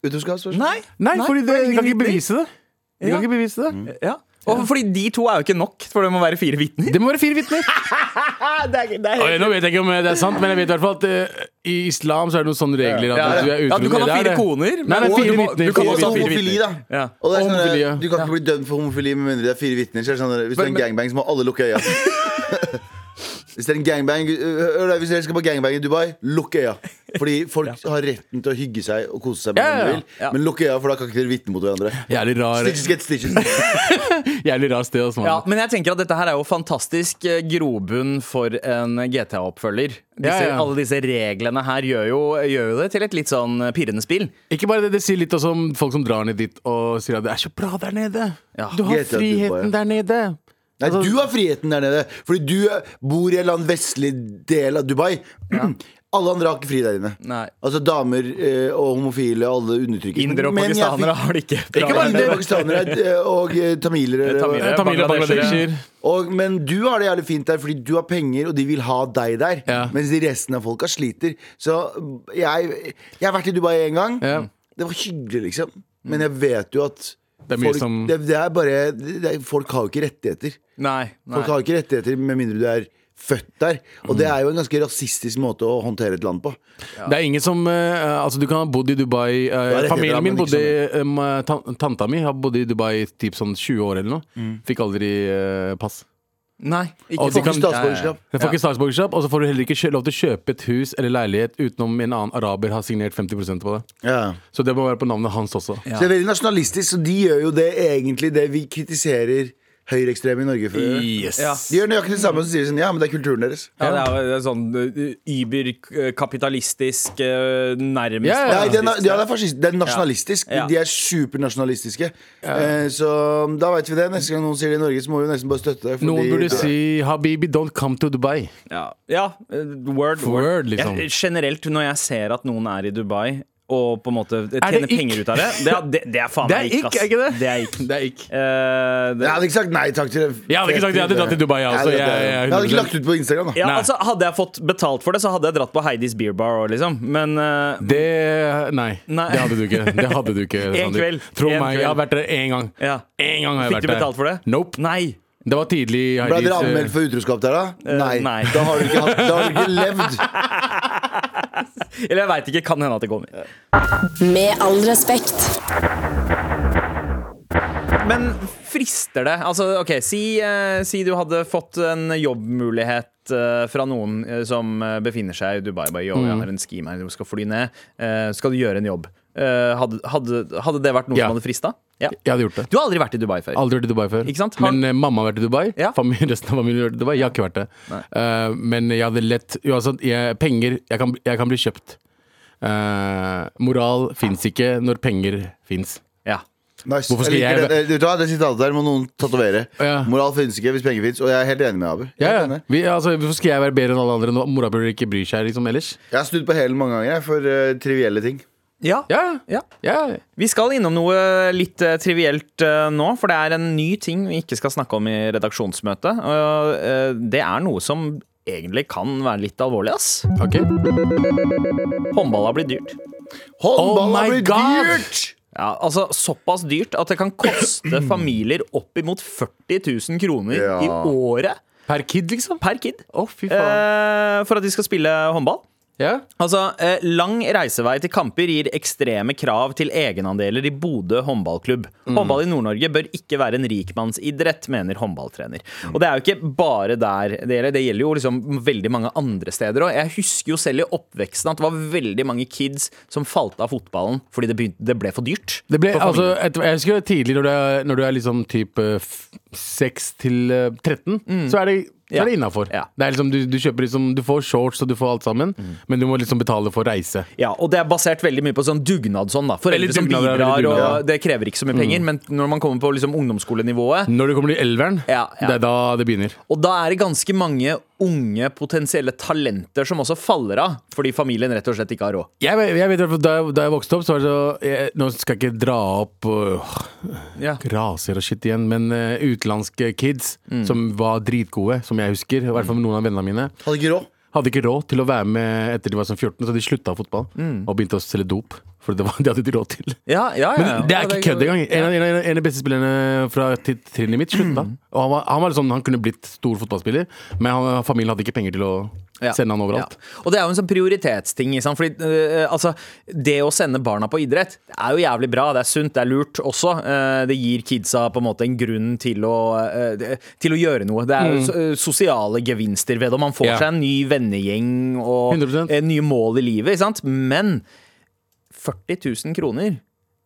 Utroskap? Spørsmål?
Nei,
Nei, fordi det,
ingen
de kan ikke
vitner.
bevise det. De
Ja.
kan ikke bevise det.
Ja. Og fordi de to er jo ikke nok, for det må være fire vitner.
Det må være fire vitner. Oi, nå vet jeg ikke om det er sant, men jeg vet i hvert fall at eh, i islam så er det noen sånne regler. At
Ja, ja.
hvis du er utro,
Ja, du kan ha
det er
fire
det. Nei,
koner,
det
men-
er fire
du må-
vitner.
du kan
fire
Og så
også ha
vitner.
fire
homofili, da.
Ja.
Og det er
Og
sånn,
homofili, ja.
Du kan ikke bli dømt for homofili med mindre det er fire vitner. Så er det sånn, hvis det er en gangbang, så må alle lukke øya. Hvis det er en gangbang øh, hør da, Hvis dere skal på gangbang i Dubai, lukk øya. Fordi folk har retten til å hygge seg og kose seg med
Ja, ja,
hvem
ja.
de vil.
Ja.
Men lukk øya, for da kan ikke dere vitne mot hverandre.
Jævlig rar,
Stitches get stitches.
jævlig rar sted. Altså,
sånn- Ja, men jeg tenker at dette her er jo fantastisk eh, grobunn for en GTA-oppfølger. Disse-
Ja, ja.
Alle disse reglene her gjør jo, gjør jo det til et litt sånn pirrende spill.
Ikke bare det, det sier litt også om folk som drar ned dit og sier at det er så bra der nede.
Ja.
Du har
Helt klart, Dubai.
friheten der nede.
Nei,
Altså-
du har friheten der nede. Fordi du øh, bor i en eller annen vestlig del av Dubai. Alle andre har ikke fri der inne.
Nei.
Altså damer eh, og homofile og alle undertrykkes.
Indere og
Men jeg
pakistanere
fikk-
har det ikke.
Ikke bare indere, pakistanere eh, og eh, tamilere.
Eh, tamilere.
eller-
Eh, Tamil og
Bangladesher,
Bangladesher.
Og, men du har det jævlig fint der, fordi du har penger, og de vil ha deg der.
Ja.
Mens de resten av folka sliter. Så jeg, jeg har vært i Dubai én gang.
Ja.
Det var hyggelig, liksom. Men jeg vet jo at
Det er mye
folk,
som-
det, det er bare, det er, folk har jo ikke rettigheter.
Nei, nei.
Folk har ikke rettigheter med mindre du er født der. Og
Mm.
det er jo en ganske rasistisk måte å håndtere et land på.
Det er ingen som eh, Altså, du kan ha bodd i Dubai eh,
er rett etter
Familien
ham,
min
men
bodde
ikke
um, eh, tan- Tanta mi har bodd i Dubai i typ sånn 20 år eller noe.
Mm.
Fikk aldri eh, pass.
nei ikke
Og de
sånn.
kan-
Statsborgerskap.
Jeg får ikke statsborgerskap, og så får du heller ikke kjø- lov til å kjøpe et hus eller leilighet utenom en annen araber har signert 50 på det.
Ja.
Så det må være på navnet hans også.
Ja.
Så det er veldig nasjonalistisk, så de gjør jo det egentlig det vi kritiserer høyreekstreme i Norge. For å gjøre.
Yes.
Ja.
De gjør nøyaktig det samme og så sier de sånn Ja, men det er kulturen deres.
Ja.
Ja, det er jo det er sånn eh, überkapitalistisk, eh, nærmest
Ja, ja, ja.
Nei, det er, na- ja, det er fascist. Det er nasjonalistisk.
Ja.
De er supernasjonalistiske. Eh, så da veit vi det. Neste gang noen sier det i Norge, så må vi jo nesten bare støtte det. fordi-
Noen burde si 'Habibi, don't come to Dubai'.
Ja, ja eh, word,
Word, liksom.
Jeg, generelt, når jeg ser at noen er i Dubai og på en måte
Er
tjener
det ikk?
penger ut av det Det, er- det, det er faen
Det er
meg ikk,
ikk,
ass.
er ikke det?
Det er ikk.
Det er ikke
Eh, det,
Jeg hadde ikke sagt nei takk til det.
Jeg hadde ikke sagt- jeg hadde dratt til Dubai, jeg
Nei,
også.
det-
Jeg- jeg-
jeg hadde ikke lagt ut på Instagram, da.
ja,
Nei.
altså, hadde jeg fått betalt for det, så hadde jeg dratt på Heidis Beer Bar òg, liksom. Men eh,
Det Nei,
Nei.
det hadde du ikke. Det hadde du ikke
En
Sandeep.
kveld.
Tro
En
meg,
kveld.
jeg har vært der én gang.
ja.
Én gang har jeg
Fikk
vært
du
der.
betalt for det?
Nope.
Nei.
Det var tidlig. i
Ble dere
Heidis, eh,
anmeldt for utroskap der, da? Nei.
Eh, nei.
Da har du ikke, hatt, da har du ikke levd.
Eller jeg veit ikke. Kan hende at det kommer.
Med all respekt.
Men frister det? Altså, ok, si, eh, si du hadde fått en jobbmulighet eh, fra noen eh, som eh, befinner seg i Dubai. Bare, jo, jeg har en scheme her, du skal fly ned. eh, skal du gjøre en jobb? Eh, hadde, hadde, hadde det vært noe
Ja.
som hadde frista? Ja.
Jeg hadde gjort det.
Du har aldri vært i Dubai før?
Aldri vært i Dubai før.
Ikke sant? Har-
Men eh, mamma har vært i Dubai.
Ja.
Familien, resten av familien har vært i Dubai. Jeg har ikke vært det. Eh, men jeg hadde lett Uansett, jeg, penger jeg kan, jeg kan bli kjøpt. Eh, moral fins ikke når penger fins.
Ja.
Nice.
Hvorfor skal
Jeg liker
jeg-
det, det, vet du hva, det sitatet der må noen tatovere.
Ja.
Moral finnes ikke hvis penger fins. Og jeg er helt enig med Abu.
Ja,
Helt
ja.
enig.
Vi, altså, hvorfor skal jeg være bedre enn alle andre når mora burde ikke bry seg liksom, ellers?
Jeg har snudd på hælen mange ganger jeg, for eh, trivielle ting.
Ja.
Ja,
Ja.
ja.
Vi skal innom noe litt eh, trivielt eh, nå, for det er en ny ting vi ikke skal snakke om i redaksjonsmøtet. Og eh, det er noe som egentlig kan være litt alvorlig, ass.
Ok.
Håndball har blitt dyrt.
Håndball
Oh my
har blitt
God!
dyrt!
Ja, altså Såpass dyrt at det kan koste familier oppimot 40 000 kroner
Ja.
i året
Per kid, liksom?
per kid
Å, fy faen.
eh, for at de skal spille håndball.
ja.
Altså, eh, Lang reisevei til kamper gir ekstreme krav til egenandeler i Bodø håndballklubb.
Mm.
Håndball i Nord-Norge bør ikke være en rikmannsidrett, mener håndballtrener.
Mm.
Og det er jo ikke bare der det gjelder, det gjelder jo liksom veldig mange andre steder òg. Jeg husker jo selv i oppveksten at det var veldig mange kids som falt av fotballen fordi det, begynte, det ble for dyrt.
Det ble,
for familien.
altså, et, jeg husker tidlig, når du er, når du er liksom type 6 til eh, 13, så er det så
Mm. Ja.
er det innafor.
Ja. Mm.
Det er liksom, du, du kjøper liksom Du får shorts og du får alt sammen, men du må liksom betale for reise.
Ja, og det er basert veldig mye på sånn dugnadsånd. da Foreldre
Veldig
som
dugnad, ja,
bidrar,
veldig dugnad, ja. Mm.
og det krever ikke så mye penger. Men når man kommer på liksom ungdomsskolenivået,
Når du kommer til elveren,
Ja, ja.
det er da det begynner.
og da er det ganske mange unge potensielle talenter som også faller av fordi familien rett og slett ikke har råd.
Jeg, vet- jeg vet i hvert fall, da, jeg- da jeg vokste opp, så var det så jeg, Nå skal jeg ikke dra opp øh,
Ja.
raser og shit igjen, men eh, utenlandske kids
Mm.
som var dritgode, som jeg husker, i hvert fall noen av vennene mine,
Hadde ikke råd.
hadde ikke råd til å være med etter de var sånn 14, så de slutta fotball
Mm.
og begynte å selge dop. For det, var, det hadde de råd til.
Ja, ja, ja,
Men det er
Ja, Mm.
ikke kødd engang. En, av- en, av- en av de beste spillerne fra t- trinnet mitt slutta. Og han, var, han, var sånn, han kunne blitt stor fotballspiller, men han, familien hadde ikke penger til å
Ja.
sende han overalt.
Ja. Og det er jo en sånn prioritetsting. ikke sant? Fordi, øh, altså, det å sende barna på idrett det er jo jævlig bra, det er sunt, det er lurt også. Eh, det gir kidsa på en måte en grunn til å, eh, det- til å gjøre noe. Det er jo so- øh, sosiale gevinster ved det, og man får
Mm. Ja.
seg en ny vennegjeng og
100%.
eh, nye mål i livet. Ikke sant? Men 40 000 kroner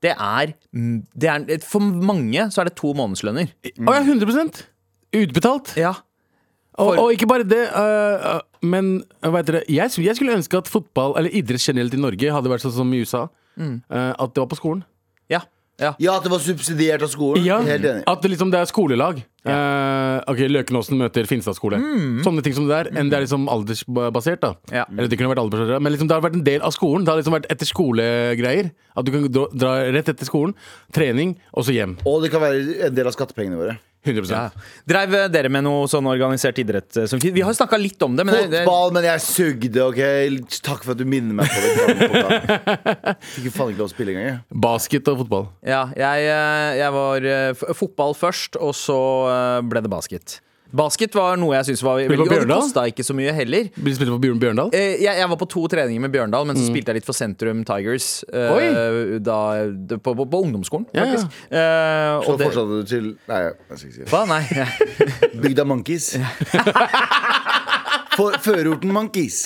det er, det er For mange så er det to månedslønner.
Å ja, 100 Utbetalt.
Ja.
Og,
For-
og ikke bare det, øh, øh, men øh, hva heter det? Jeg, skulle- jeg skulle ønske at fotball, eller idrett generelt i Norge, hadde vært sånn som i USA.
Mm.
øh, at det var på skolen.
ja, ja.
Ja, at det var subsidiert av skolen. Helt enig.
At det liksom det er skolelag. Eh, ok, Løkenåsen møter Finstad skole. Sånne ting som det der. Enn det er liksom aldersbasert. da
Mm. Ja.
Eller det kunne vært aldersbasert Men liksom det har vært en del av skolen. Det har liksom vært etter skolegreier. At du kan dra, dra rett etter skolen, trening, og så hjem.
Og det kan være en del av skattepengene våre.
100
Ja. Dreiv eh, dere med noe sånn organisert idrett eh, som kid? Vi har jo snakka litt om det, men det, det,
Fotball, men jeg sugde, OK? Takk for at du minner meg på det. faen, fotball. Fikk jo faen ikke lov å spille engang. jeg.
Basket og fotball.
ja, jeg, eh, jeg var eh, f- fotball først, og så eh, ble det basket. Basket var noe jeg syntes var
på
veldig Og det
Bjørndal?
kosta ikke så mye heller.
Blir spilt for Bjørn Bjørndal.
Eh, Jeg, jeg var på to treninger med Bjørndal, men så spilte jeg litt for Sentrum Tigers. eh,
Oi!
Da, det- på, på, på ungdomsskolen,
Ja, ja.
faktisk. Eh,
Så
og det,
fortsatte du til Nei, jeg skal ikke si det.
hva? Nei. ja.
Bygda Monkeys. For, førorten Monkeys.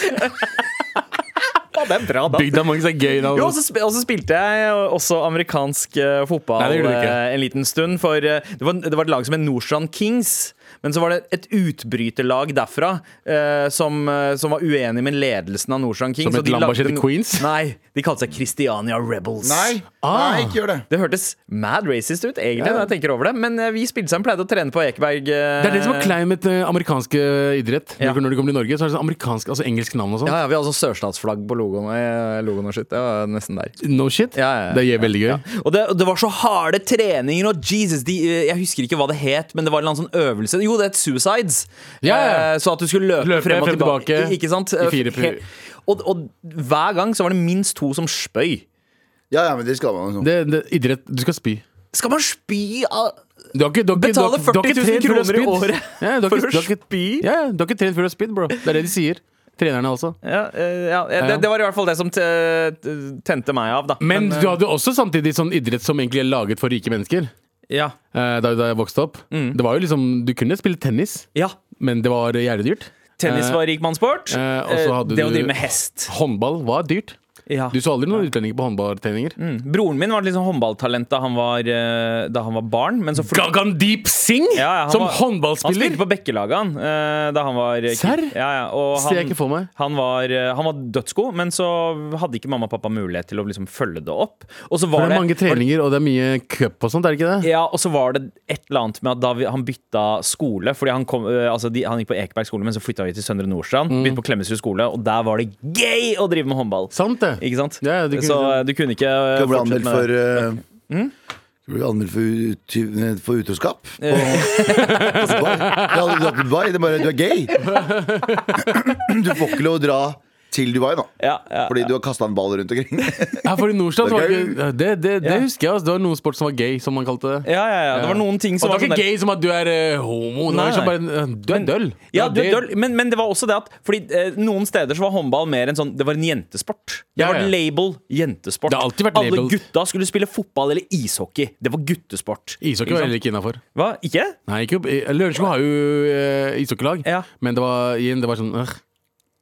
det er bra dans.
Bygda Monks er gøy navn.
Jo, altså,
ass.
og så sp- og så spilte jeg også amerikansk eh, fotball
Nei, det gjorde du ikke.
eh, en liten stund. For eh, det var, det var et lag som het Nordstrand Kings. Men så var det et utbryterlag derfra eh, som, eh, som var uenig med ledelsen av Nordstrand Kings.
Som
og
et
de
lam
lagde
som heter
no-
Queens?
Nei, de kalte seg Christiania Rebels.
Nei,
Ah.
nei, ikke gjør det.
Det hørtes mad racist ut, egentlig, når jeg tenker over det. Men eh, vi spilte sammen, pleide å trene på Ekeberg. eh,
Det er det som er klein med eh, amerikansk eh, idrett.
Ja.
Når du kommer til Norge, så er det sånn amerikansk, altså engelsk navn og sånn.
Ja, ja, vi hadde sånn sørstatsflagg på logoen, eh, logoen og shit. Det var nesten der.
No shit.
Ja, ja, ja.
Det er veldig gøy.
Og det, det var så harde treninger og Jesus, de, eh, jeg husker ikke hva det het, men det var en eller annen sånn øvelse. Jo, det het Suicides.
Ja, ja.
Eh, Så at du skulle løpe,
Løpe
frem og
frem
tilbake.
tilbake
I- Ikke sant?
i fire pr-
Helt- og, og hver gang så var det minst to som spøy.
Ja, ja, men det skal man. Liksom.
Det, det, idrett Du skal spy.
Skal man spy av
Du har ikke, du har ikke,
Betale
du har- du har
40
ikke
000
trent før du
kroner
har
i
spydd.
året
ja, du har
for
ikke-
å
du har ikke-
spy?
Ja, ja, du har ikke trent før du har spydd, bro. Det er det de sier. Trenerne altså.
Ja, eh, ja, eh, det, det var i hvert fall det som te, te- tente meg av, da.
Men du hadde jo også samtidig sånn idrett som egentlig er laget for rike mennesker.
Ja.
eh, Da, da jeg vokste opp.
Mm.
Det var jo liksom, Du kunne spille tennis,
ja.
men det var jævlig dyrt.
Tennis
Eh,
var rikmannssport.
eh, og så
Eh,
hadde
det å
du-
drive med hest.
Håndball var dyrt.
Ja.
Du så aldri noen utlendinger på håndballtreninger.
Mm. Broren min var liksom
sånn
håndballtalent da han var, eh, da han var barn, men så flyt-
Gagandeep Singh
Ja, ja, han
som
var- Han
håndballspiller!
spilte på Bekkelaget, han, eh, da han var eh, kid.
Serr?
Ja, ja. Og
Ser jeg
han,
ikke for meg.
han, var, eh, han var dødsgod, men så hadde ikke mamma og pappa mulighet til å liksom følge det opp. Og så var
For det er mange treninger, og det er mye cup og sånt, er det ikke det?
Ja, og så var det et eller annet med at da vi, han bytta skole Fordi han, kom, øh, altså de, han gikk på Ekeberg skole, men så flytta vi til Søndre Nordstrand.
Mm.
Begynte på Klemetsrud skole, og der var det gøy å drive med håndball!
Sant det?
Ikke sant?
Ja, ja, du kunne-
så øh, du kunne ikke øh,
Skal bli
fortsette
anmeldt
med det. Mm.
for eh, skal bli anmeldt for, uty- for utroskap. På, på Dubai. Det hadde du dratt til Dubai. Det er bare du er gay. Du får ikke lov å dra til Dubai nå.
Ja, ja.
Fordi du har kasta en ball rundt omkring.
Ja, for i Nordstrand så var
Det
det,
er
ikke- det, det, det
Ja.
husker jeg. Altså. Det var noen sport som var gay, som man kalte det.
Ja, ja, ja. Det var noen ting som
og det var
var sånn
ikke
der-
gay som at du er eh, homo. Det var
Nei,
liksom
nei.
bare, eh, du er døll.
Ja, du
Det
er
var
døll, men, men det var også det at Fordi eh, noen steder så var håndball mer en sånn Det var en jentesport. Det
Ja,
var
ja.
label jentesport.
Det har alltid vært
Alle
labeled.
gutta skulle spille fotball eller ishockey. Det var guttesport.
Ishockey var heller ikke innafor.
Hva? Ikke?
Lørenskog har jo eh, ishockeylag,
Ja.
men det var, igjen, det var sånn øh,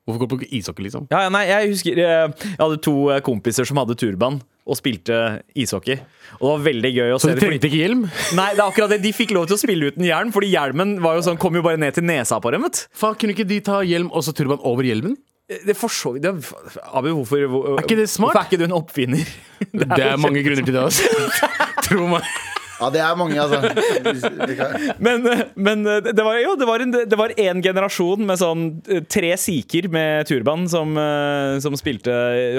Hvorfor går du på ishockey, liksom?
Ja, ja, nei, jeg husker eh, Jeg hadde to eh, kompiser som hadde turban og spilte ishockey. Og det var veldig gøy å
Så
se
du
det. Fordi,
trengte ikke hjelm?
nei, det er akkurat det. De fikk lov til å spille uten hjelm, fordi hjelmen var jo sånn, kom jo bare ned til nesa på dem. vet du.
Faen, kunne ikke de ta hjelm og så turban over hjelmen?
Det for så vidt det er- Abu, hvorfor, hvor,
Er ikke det smart?
hvorfor er ikke du en oppfinner?
Det er, mange grunner til det, altså. Tro meg.
Ja, det er mange, altså.
Men, eh, men eh, det var jo det var en, det var en generasjon med sånn eh, tre sikher med turban som, eh, som spilte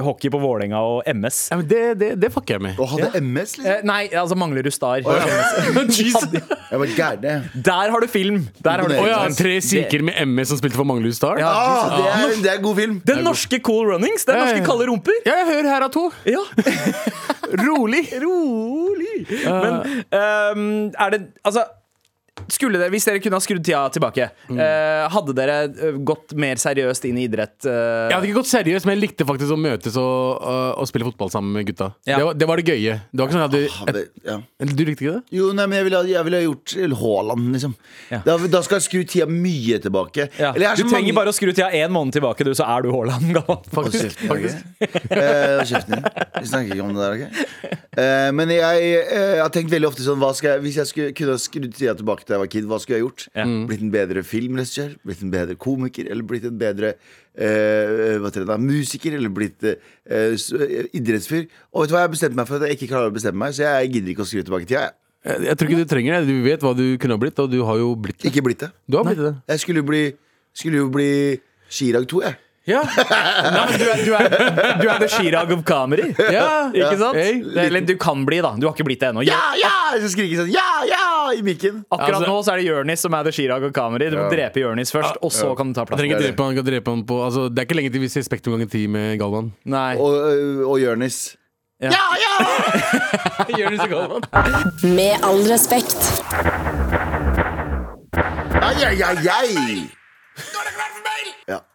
hockey på Vålerenga og MS.
Ja, men det, det, det fucker jeg med.
Og hadde MS, liksom.
Eh, Nei, altså Manglerud Star.
Jesus.
Jeg var gæren.
Der har du film! Der har du
Å ja, tre sikher med ME som spilte for Manglerud Star? Ja.
Ah, det, er- det er god film.
Den norske Cool Runnings. Den
Ja, ja, ja.
norske Kalde rumper.
hør her av to.
Ja,
Rolig. Eh,
Rolig. Men ehm, er det Altså, skulle dere, hvis dere kunne ha skrudd tida tilbake, eh, hadde dere eh, gått mer seriøst inn i idrett? eh?
Jeg hadde ikke gått seriøst, men jeg likte faktisk å møtes og, og- og spille fotball sammen med gutta.
Ja.
Det, var, det var det gøye. Det var ikke sånn at
Ja,
du,
Ah, det- Ja.
et, du likte ikke det?
Jo, nei, men jeg ville, ha- jeg ville ha gjort Haaland, liksom. Da, da skal jeg skru tida mye tilbake.
Ja.
Eller jeg er
Du
så
trenger
mange-
bare å skru tida én måned tilbake, du, så er du Haaland gammel.
Hold
Faktisk.
kjeften, Jørgen. Eh, hold kjeften din. Vi snakker ikke om det der, OK? Eh, men jeg, eh, har tenkt veldig ofte sånn hva skal jeg, Hvis jeg skulle, kunne ha skrudd tida tilbake da jeg var kid, hva skulle jeg gjort? Blitt en bedre filmregissør? Blitt en bedre komiker? Eller blitt en bedre eh, hva heter det da, musiker? Eller blitt eh, s- eh, idrettsfyr? Og vet du hva, jeg bestemte meg for at jeg ikke klarer å bestemme meg, så jeg gidder ikke å skru tilbake tida. jeg.
Jeg, jeg tror ikke du trenger det. Du vet hva du kunne ha blitt, og du har jo blitt det.
Ikke blitt det.
Du har blitt det.
Jeg skulle jo bli, skulle jo bli Chirag 2, jeg.
Ja.
Nei, men du er, du er, du er the Chirag of comedy.
Ja.
Ikke sant?
Hey,
Eller du kan bli, da. Du har ikke blitt det ennå.
Ja, ja! Så skriker jeg sånn ja, ja! i mikken.
Akkurat
Altså-
nå så er det Jonis som er the Chirag of comedy. Du må drepe Jonis først, og så kan du ta
Jeg
plass.
trenger ikke drepe han, jeg kan drepe han på altså, Det er ikke lenge til vi ser Spektrum ganger 10 med Galvan.
Nei.
Og, øh, og Jonis. ja, ja!
Med all respekt.
Ai, ai, ai, ai. Ja.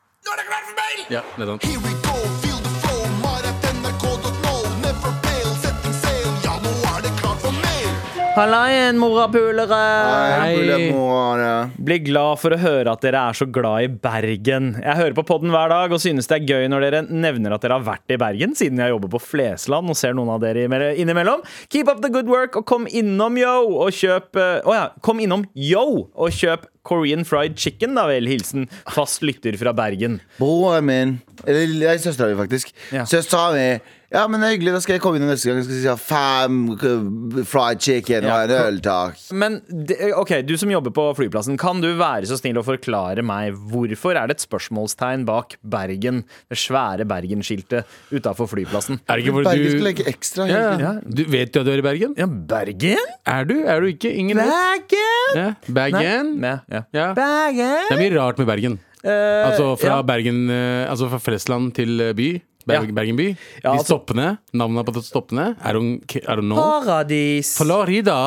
Ja, det er sant.
Here we go, feel the flow, mar at nrk.no. Never fail, setting sail, ja, nå er det klart for mer.
Hallaien, morapulere!
Nei,
Nei.
mulig at nå er det-
Blir glad for å høre at dere er så glad i Bergen. Jeg hører på podden hver dag og synes det er gøy når dere nevner at dere har vært i Bergen, siden jeg jobber på Flesland og ser noen av dere imell- innimellom. Keep up the good work og kom innom yo og kjøp eh, Å ja, kom innom yo og kjøp Korean fried chicken, da vel. Hilsen fast lytter fra Bergen.
Broren min Eller det er søstera mi, faktisk.
Ja.
Søstera mi Ja, men det er hyggelig, da skal jeg komme inn neste gang og skal si ja, fem k- fried chicken og
Ja.
en øl, takk.
Men det- ok, du som jobber på flyplassen, kan du være så snill å forklare meg hvorfor er det et spørsmålstegn bak Bergen, det svære Bergen-skiltet utafor flyplassen?
Er det ikke fordi
Bergen skal
du
legge ekstra. hele
ja,
tiden.
ja. Du vet jo at du er i Bergen?
Ja, Bergen?
Er du? Er du ikke? Ingen vet.
Bergen!
Ja. Bergen?
Ja, ja.
Ja. Det
Bergen!
er mye rart med Bergen. Altså fra
ja.
Bergen eh, Altså fra Flesland til eh, by. Ber
Ja.
Bergen by.
Ja,
De
altså-
stoppene. Navnene på de stoppene. Er hun Er hun nå?
Paradis.
Florida.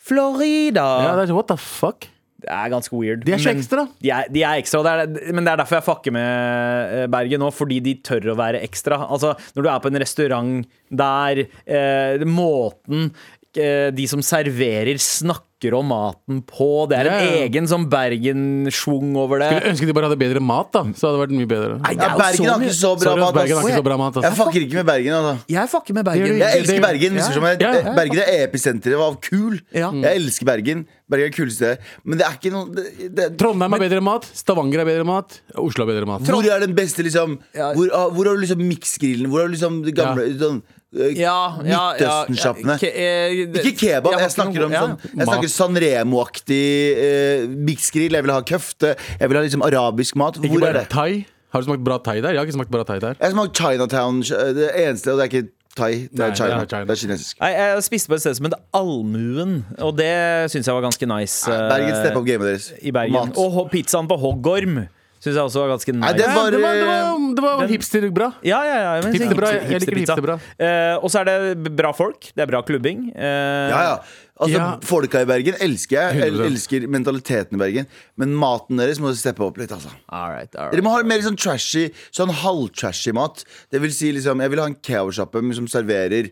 Florida.
Ja, det er, what the fuck?
det er ganske weird.
De er så
men-
ekstra.
De er, de er ekstra, og det er, men det er derfor jeg fucker med eh, Bergen nå, fordi de tør å være ekstra. Altså, når du er på en restaurant der eh, måten eh, de som serverer, snakker om maten på, det er en
Ja, ja.
egen sånn Bergen-schwung over det.
Jeg ønsker de bare hadde bedre mat, da. Så hadde det vært mye bedre.
det
Ja,
er jo
Bergen
så
har
mye-
ikke så bra
Sorry, ass,
mat.
Bergen
ass.
har ikke så bra mat,
Jeg
ass.
fucker ikke med Bergen. Altså.
Jeg fucker med Bergen.
Det gjør
Jeg elsker Bergen.
Ja.
misforstå meg rett.
Ja, ja, ja.
Bergen er episenteret av kul.
Ja.
Jeg elsker Bergen. Bergen er det kuleste stedet. Men det er ikke noe det, det,
Trondheim har bedre mat. Stavanger har bedre mat. Oslo har bedre mat.
Hvor er den beste, liksom? Hvor, hvor har du liksom miksgrillen? Hvor har du liksom de gamle sånn, eh,
Ja, ja, ja,
Midtøsten-sjappene?
ke- eh, det-
Ikke kebab,
har
jeg
ikke
snakker
noe-
om
ja.
sånn Jeg snakker Sanremo-aktig eh, miksgrill. Jeg vil ha køfte. Jeg vil ha liksom arabisk mat. Hvor
Ikke
er
bare
det?
thai. Har du smakt bra thai der? Jeg har ikke smakt bra thai der.
Jeg smaker Chinatown. eh, Det eneste, og det er ikke thai. Det
Nei,
er China.
det er China.
Det er kinesisk.
Nei, jeg spiste på et sted som het Allmuen, og det syns jeg var ganske nice. eh,
Bergen step up gamet deres.
I Bergen.
Mat.
Og ho- pizzaen på Hoggorm syns jeg også var ganske nice.
det
Ja,
var-
det var, det var, det var
Den-
hipsterbra.
Ja, ja, ja. men-
Hipsterbra,
hipster-
jeg liker
hipsterpizza.
hipsterbra.
Eh, og så er det b- bra folk. Det er bra klubbing. Eh,
Ja, ja. Altså,
Ja.
Folka i Bergen elsker jeg. Jeg
100%.
elsker mentaliteten i Bergen. Men maten deres må steppe opp litt. altså
All right, all
Dere
right.
må ha mer sånn trashy, sånn halvtrashy mat. Det vil si liksom, Jeg vil ha en kebabsjappe som serverer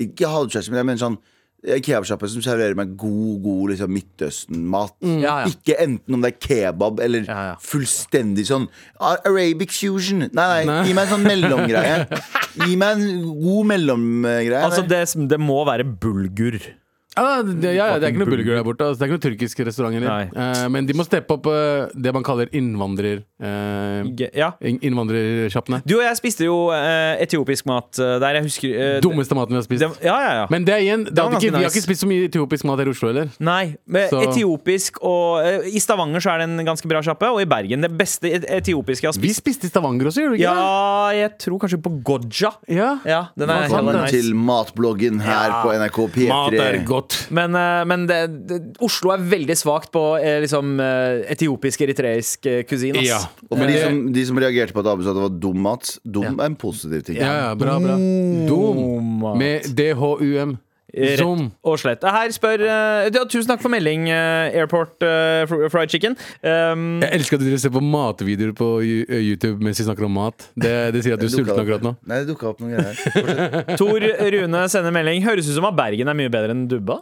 Ikke halvtrashy, men jeg mener sånn en kebabsjappe som serverer meg god god liksom Midtøsten-mat.
Mm. Ja, ja.
Ikke enten om det er kebab eller
Ja, ja.
fullstendig sånn "Ah, Arabic fusion. Nei, nei, gi meg en sånn mellomgreie. gi meg en god mellomgreie.
Altså, det, det må være bulgur.
Ja, det, ja, ja, det er ikke noe bulgur der borte. Altså, det er ikke noe turkisk restaurant heller. Eh, men de må steppe opp eh, det man kaller innvandrer... eh,
G- Ja.
in- innvandrersjappene.
Du og jeg spiste jo eh, etiopisk mat eh, der. Jeg husker eh,
Dummeste maten vi har spist.
det, ja, ja, ja.
Men det er igjen, det
var
hadde ikke,
ganske
vi har
nice.
ikke spist så mye etiopisk mat her i Oslo heller.
Nei. men
Så-
Etiopisk og eh, I Stavanger så er det en ganske bra sjappe, og i Bergen det beste et- etiopiske jeg har
Vi
spist.
spiste i Stavanger også, gjorde vi ikke
Ja, jeg tror kanskje på Godja.
det? Ja.
Ja, den er
Velkommen
Velkommen
heller nice.
til matbloggen her
Ja.
på NRK P3.
godt.
Men, eh, men det, det, Oslo er veldig svakt på eh, liksom, eh, etiopisk, eritreisk eh, kusin.
Ja. Eh,
Ass.
Og for de som, de som reagerte på at Abu sa det var dum mat, dum er en positiv ting.
ja, ja, bra, bra. Dum.
Mm. mat.
Med DHUM.
eh, Rett
Zoom.
og slett. Her spør eh, ja, Tusen takk for melding, eh, Airport eh, fr- Fried Chicken. Um,
Jeg elsker at dere ser på matvideoer på Yu- eh, YouTube mens vi snakker om mat. Det, det sier at du er
Det dukket
sulten
opp.
akkurat nå.
Nei, det dukka opp noen greier her.
Tor Rune sender melding. Høres ut som at Bergen er mye bedre enn Dubba.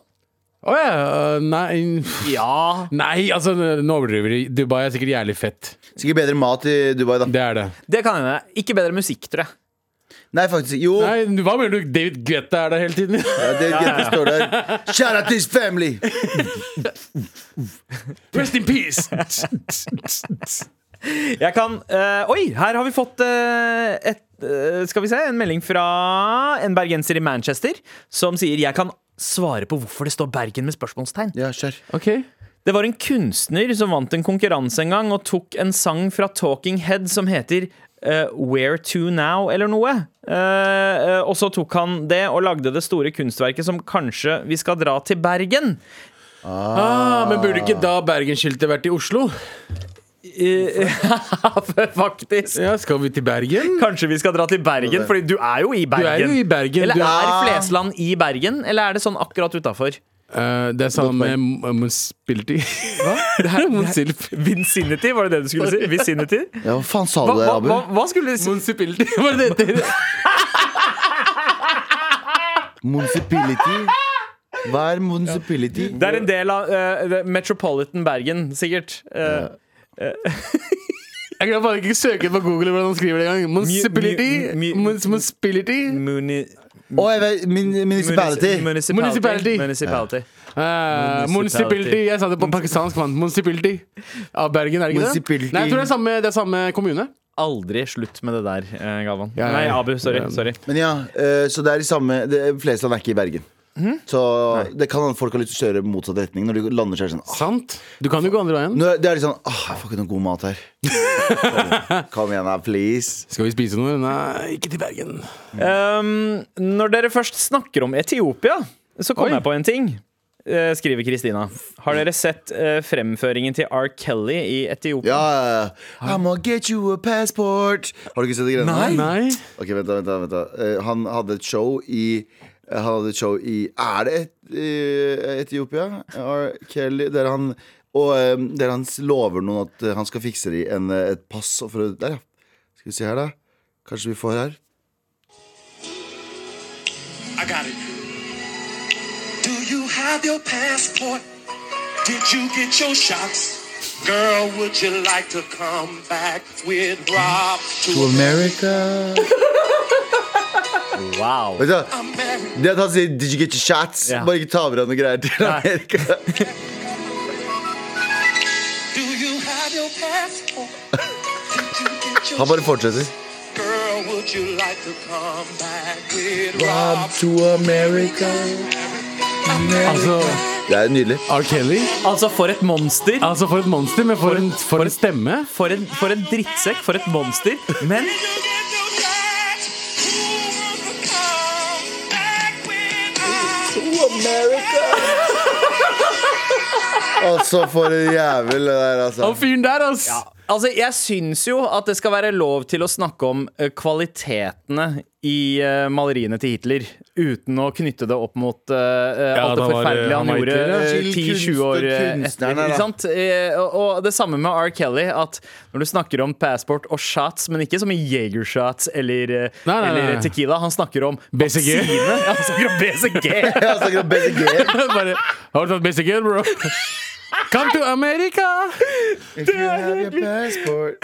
Å ja. øh, Nei,
Ja,
nei altså, nå overdriver de. Dubai er sikkert jævlig fett.
Sikkert bedre mat i Dubai, da.
Det er det.
det kan hende. Ikke bedre musikk, tror jeg.
Nei, faktisk ikke. Jo,
Nei, hva mener du? David Guetta er der hele tiden?
ja, det, det står der. Shout out to his family!
Rest in peace!
Jeg kan eh, Oi, her har vi fått eh, et, eh, Skal vi se, en melding fra en bergenser i Manchester som sier jeg kan svare på hvorfor det står Bergen med spørsmålstegn.
Ja, kjør.
Ok.
Det var en kunstner som vant en konkurranse en gang og tok en sang fra Talking Head som heter eh, Where to now, eller noe. Eh, eh, og så tok han det og lagde det store kunstverket som kanskje vi skal dra til Bergen.
Ah, men burde ikke da Bergenskiltet vært i Oslo?
Eh, faktisk.
Ja, skal vi til Bergen?
Kanskje vi skal dra til Bergen, Fordi du er jo i
Du
Bergen.
er jo i Bergen.
Eller
Du
er Flesland i Bergen, eller er det sånn akkurat utafor?
Eh, det er samme med Monspilty. Hva? Det her er Monsilp.
Vincinity, var det det du skulle si? Vicinity?
Ja, hva faen sa
Hva,
du der,
hva,
Abu?
hva, hva skulle du si?
Monspilty, hva er det det heter?
Municipality? Hver municipality
Det er en del av eh, det- Metropolitan Bergen, sikkert. Eh,
Jeg kan bare ikke søke på Google hvordan han skriver det engang. Municipality.
mu- mu-
Mun- Municipality.
muni,
Å, jeg vet, min, municipality
municipality.
Municipality.
Municipality.
Eh, Municipality. Jeg sa det på pakistansk. Man. Municipality. Av Bergen, er det ikke
Municipality.
det? Nei, jeg tror det er samme, det er samme kommune.
Aldri slutt med det der, eh, Galvan.
Ja, ja,
Nei,
ja.
Abu. Sorry. sorry.
Men ja, eh, så det er de samme De fleste land er ikke i Bergen Så det kan hende folk har lyst til å kjøre motsatt retning Når de lander seg sånn ah,
Sant? Du kan jo gå andre veien.
nå er- Det er litt sånn, ah, jeg får ikke noe god mat her Kom- Kom igjen her, please
Skal vi spise noe? Nei, ikke til Bergen.
Um, når dere først snakker om Etiopia, så kom
Oi.
jeg på en ting. eh, skriver Kristina. Har dere sett eh, fremføringen til R. Kelly i Etiopia?
Ja, I'm gonna get you a passport Har du ikke sett det greiene?
Nei.
Nei.
Ok, vent da, vent da, vent da. Eh, Han hadde et show i eh, han hadde et show i Er det et, eh, Etiopia? R. Kelly, der han Og eh, der han s- lover noen at eh, han skal fikse de en, eh, et pass og for å Der, ja. Skal vi se her, da. Kanskje vi får her.
I got it. Do you have your passport? Did you get your shots? Girl, would you like to come back with Rob
To
to
America
Wow.
Vet du, hva?
America?
Det at han sier 'Did you get your shots?'
Ja.
Bare ikke ta med deg noe greier til Amerika.
Do you have your passport? Did you get your
Han bare fortsetter.
shots? Girl, would you like to come back with
Rob
Rob?
to America
Altså,
Det er nydelig.
R. Kelly.
Altså, for et monster!
Altså, for et monster, men for en, for en stemme.
For en, for en drittsekk! For et monster! Men
Did you get your shots? Who will come back with Rob?
Altså, for en jævel det der, altså.
Han fyren der, ass.
Altså, Jeg syns jo at det skal være lov til å snakke om eh, kvalitetene i eh, maleriene til Hitler, uten å knytte det opp mot eh, eh,
Ja, da var
alt det
det-
forferdelige han,
han var
gjorde
Hitler,
ja.
eh,
Til
10-20 år eh,
kunst-
etter.
kunstnerne, da.
Ikke sant? Eh, og, og det samme med R. Kelly, at når du snakker om passport og shots, men ikke som i Jagershots eller, eh,
Nei, nei, nei, nei.
eller Tequila, han snakker om
BCG.
vaksine. Ja, han snakker om BCG.
Jeg snakker om BCG.
Bare, har du tatt basic girl, bro? Come to America!
If you have your passport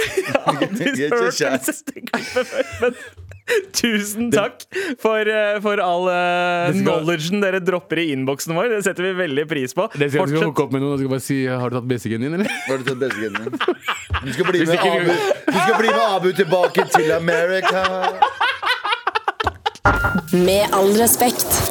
Get your
hørt
shots.
disse stykkene før, men Tusen takk for, eh, for all eh,
Det skal-
knowledgen dere dropper i innboksen vår. Det setter vi veldig pris på.
Det skal, du skal
Fortsett.
hooke opp med noen og du skal bare si Har du tatt basic din, eller?
Har du tatt BCG-en din? Du skal bli med
ikke
Abu Du skal bli med Abu tilbake til America
Med all respekt.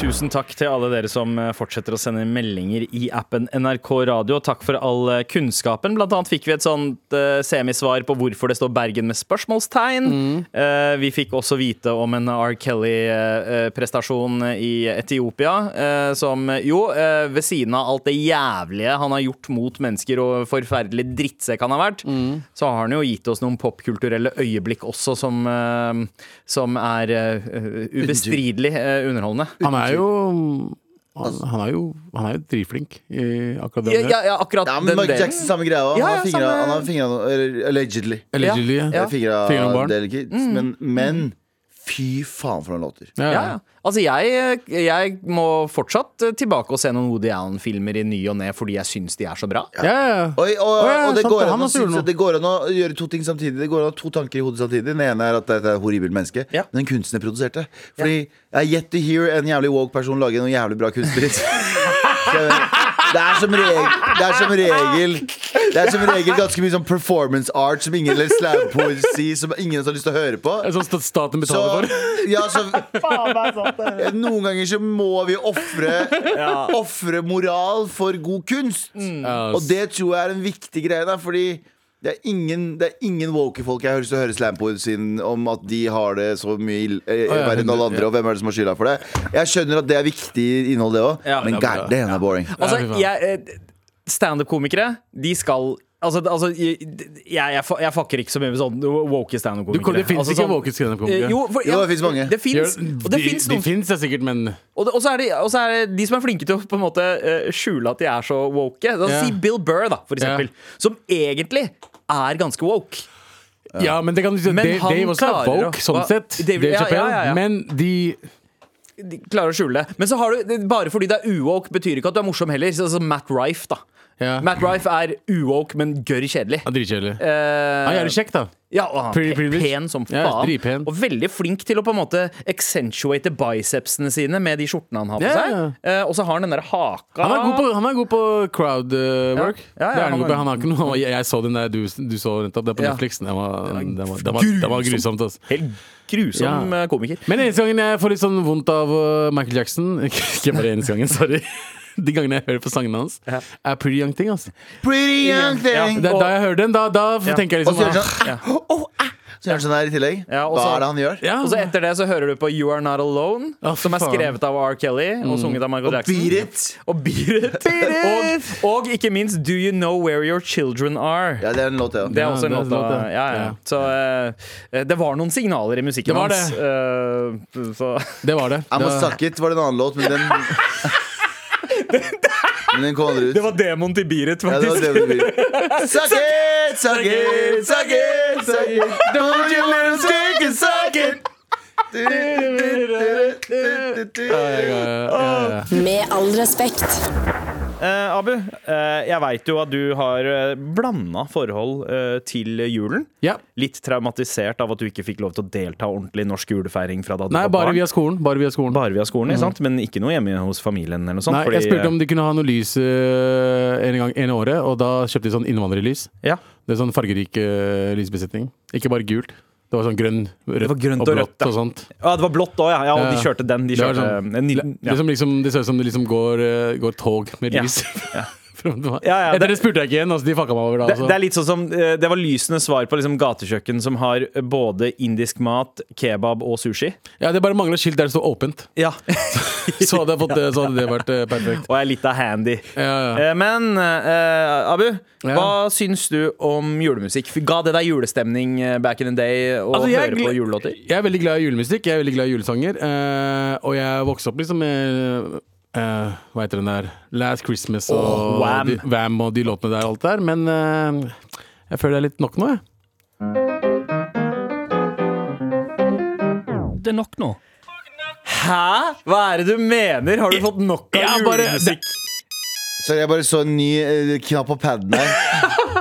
Tusen takk til alle dere som eh, fortsetter å sende meldinger i appen NRK Radio. Takk for all eh, kunnskapen. Blant annet fikk vi et sånt eh, semisvar på hvorfor det står Bergen med spørsmålstegn. Eh, vi fikk også vite om en R. Kelly-prestasjon i Etiopia, eh, som jo, eh, ved siden av alt det jævlige han har gjort mot mennesker og forferdelig drittsekk han har vært, så har han jo gitt oss noen popkulturelle øyeblikk også som, eh, som er eh, ubestridelig eh, underholdende.
Han er jo Han, han er jo Han er jo dritflink i akkurat det
Ja,
han gjør.
ja, ja akkurat
Ja, men
den
Michael
delen.
Jackson samme greia også.
Ja,
Han
ja,
har fingra
samme-
Han har fingra noe eller- Allegedly
Eller Julie.
ja.
Fingra
Fingra om barn.
del kids Men, men Fy faen for noen låter
Ja,
Mm. Ja,
ja.
ja. Altså, jeg, jeg må fortsatt eh, tilbake og se noen Woody Allen-filmer i ny og ne fordi jeg syns de er så bra.
Ja, ja, ja.
Oi, og,
Å, ja,
og det,
sant,
går
han
an å
også gjorde
synes,
noe.
at det går an å gjøre to ting samtidig. Det går an å ha to tanker i hodet samtidig. Den ene er at dette er et horribelt menneske,
Ja.
men en kunstner produserte. Fordi jeg er yet to hear en jævlig woke person lage noe jævlig bra kunstnerisk. Så jeg mener, Det er, som regel, det er som regel Det er som regel ganske mye sånn performance art som ingen eller slagpoesi som ingen har lyst til å høre på.
Det er Sånn at staten
Så,
betaler for.
ja, så, eh, noen ganger så må vi ofre Ofre moral for god kunst.
Mm. Ja,
Og det tror jeg er en viktig greie, da, fordi det er ingen, det er ingen woke folk jeg har lyst til å høre slampoesien om at de har det så mye ill, eh,
ja,
verre enn alle
hundre,
andre, og hvem er det som har skylda for det? Jeg skjønner at det er viktig innhold, det òg,
Ja,
men
det er bra.
god damn, det er boring.
Ja, fy
Altså,
faen.
jeg, eh, standup-komikere, de skal Altså, altså jeg, jeg, jeg, fa- jeg fucker ikke så mye med sånn woke
Du,
standup-komikere.
det finnes
altså,
ikke
sånn-
woke standup-komikere.
Eh, Jo, for-
Jo, det finnes mange.
Det finnes,
Gjør-
og det
de-
finnes
de
noen
finnes det sikkert, men
Og, det, og, så er det, og så er det de som er flinke til å på en måte eh, skjule at de er så woke. Da,
Ja.
Si Bill Burr, da, for
Ja.
eksempel. Som egentlig er ganske woke.
Ja, men det kan du si
Men
Dave,
han
Dave også er
klarer å-
woke, sånn
Hva-
sett.
Dave-
Dave
ja,
Chappelle.
ja, ja, ja.
Men de
de klarer å skjule det. Men så har du, bare fordi det er uwoke, betyr ikke at du er morsom heller. Så, så Matt Rife, da.
Ja.
Matt Rife er uwoke, men gørr kjedelig.
Ja, Dritkjedelig.
Eh,
Han er jævlig kjekk, da.
ja, og han
Pretty
er
privileged.
pen som
Ja,
faen.
dritpen.
og veldig flink til å på en måte accentuate bicepsene sine med de skjortene han har på
Ja,
seg.
ja.
Eh, og så har han den der haka.
Han er god på, han er god på crowd eh, work.
Ja, ja,
det er han, god
han er-
på. han har ikke noe Jeg, jeg så den der du, du så nettopp, det er på
Ja.
Netflix. Den var, den var, den var, den var grusomt, altså.
Helt grusom
Ja.
eh, komiker.
Men eneste gangen jeg får litt sånn vondt av uh, Michael Jackson Ikke bare eneste gangen, sorry. De gangene jeg hører på sangene hans, er Pretty Young Thing. Altså.
Pretty young thing.
Det er
Og-
da jeg hører den, da, da tenker jeg
Og så gjør
liksom
han
ah,
sånn «Åh, ah!» Så gjør han sånn her i tillegg.
Ja, og
Hva
så-
er det han gjør?
ja.
Og så etter det så hører du på You Are Not Alone,
Å,
som er
faen.
skrevet av R. Kelly og sunget av Michael Jackson.
Beat it.
Og Beat It. Og, og ikke minst Do You Know Where Your Children Are.
Ja, det er en låt, ja.
Det er
Ja,
også en
det er en
låt.
låt, ja.
da. Ja, ja.
Ja.
Så eh, det var noen signaler i
Det
musikken
var
hans. eh, så
Det var det.
I'm a
Det var-
Suck It var det en annen låt, men den Men den kom aldri ut.
det var demoen til Beat It,
Ja, det var
faktisk.
det vi Suck it, suck it, suck it, suck it. Don't you let us take it, suck it. Du, du, du, du, du, du.
Med all respekt.
Eh, Abu, eh, jeg veit jo at du har uh, blanda forhold eh, til julen.
Ja.
Litt traumatisert av at du ikke fikk lov til å delta ordentlig i norsk julefeiring fra da du
Nei,
var
bare
barn.
via skolen. Bare via skolen.
Bare sånn, via skolen, ikke sant? men ikke noe hjemme hos familien? eller noe sånt
Nei, jeg spurte om de kunne ha noe lys eh, en gang en året, og da kjøpte de sånn innvandrerlys.
ja.
Det er sånn fargerik eh, lysbesetning. Ikke bare gult. Det var sånn grønn, rødt
var
og
grønt og
blått
rødt, ja.
og sånt.
ja, det var blått òg, ja. ja. Og de
Ja.
kjørte den. De
Det var
kjørte, eh,
sånn-
en
Le-
liten- ja.
Det, som liksom, det ser ut som det liksom går, eh, går tog med
Ja.
lys. Frem og tilbake.
Ja, ja, det-
Etter det spurte jeg ikke igjen. Altså, de fucka meg over da.
Det,
Altså.
det er litt sånn som eh, Det var lysende svar på liksom gatekjøkken som har både indisk mat, kebab og sushi.
Ja, det bare mangler skilt der det står åpent.
Ja
Så hadde, jeg fått, det- så hadde det vært eh, perfekt.
Og er litt av handy.
Ja, ja.
Eh, Men eh, Abu,
Ja.
hva syns du om julemusikk? Ga det deg julestemning eh, back in the day å
Altså, jeg
høre
gle-
på julelåter?
Jeg er veldig glad i julemusikk, jeg er veldig glad i julesanger. eh, og jeg vokste opp liksom med eh, Hva heter den der? Last Christmas og
Åh, Wham.
De, Wham og de låtene der og alt der. Men eh, jeg føler det er litt nok nå, jeg.
Det er nok nå.
Hæ? Hva er det du mener? Har du fått nok av
Ja, bare-
julemusikk?
Sorry, jeg bare så en ny eh, knapp på paden her.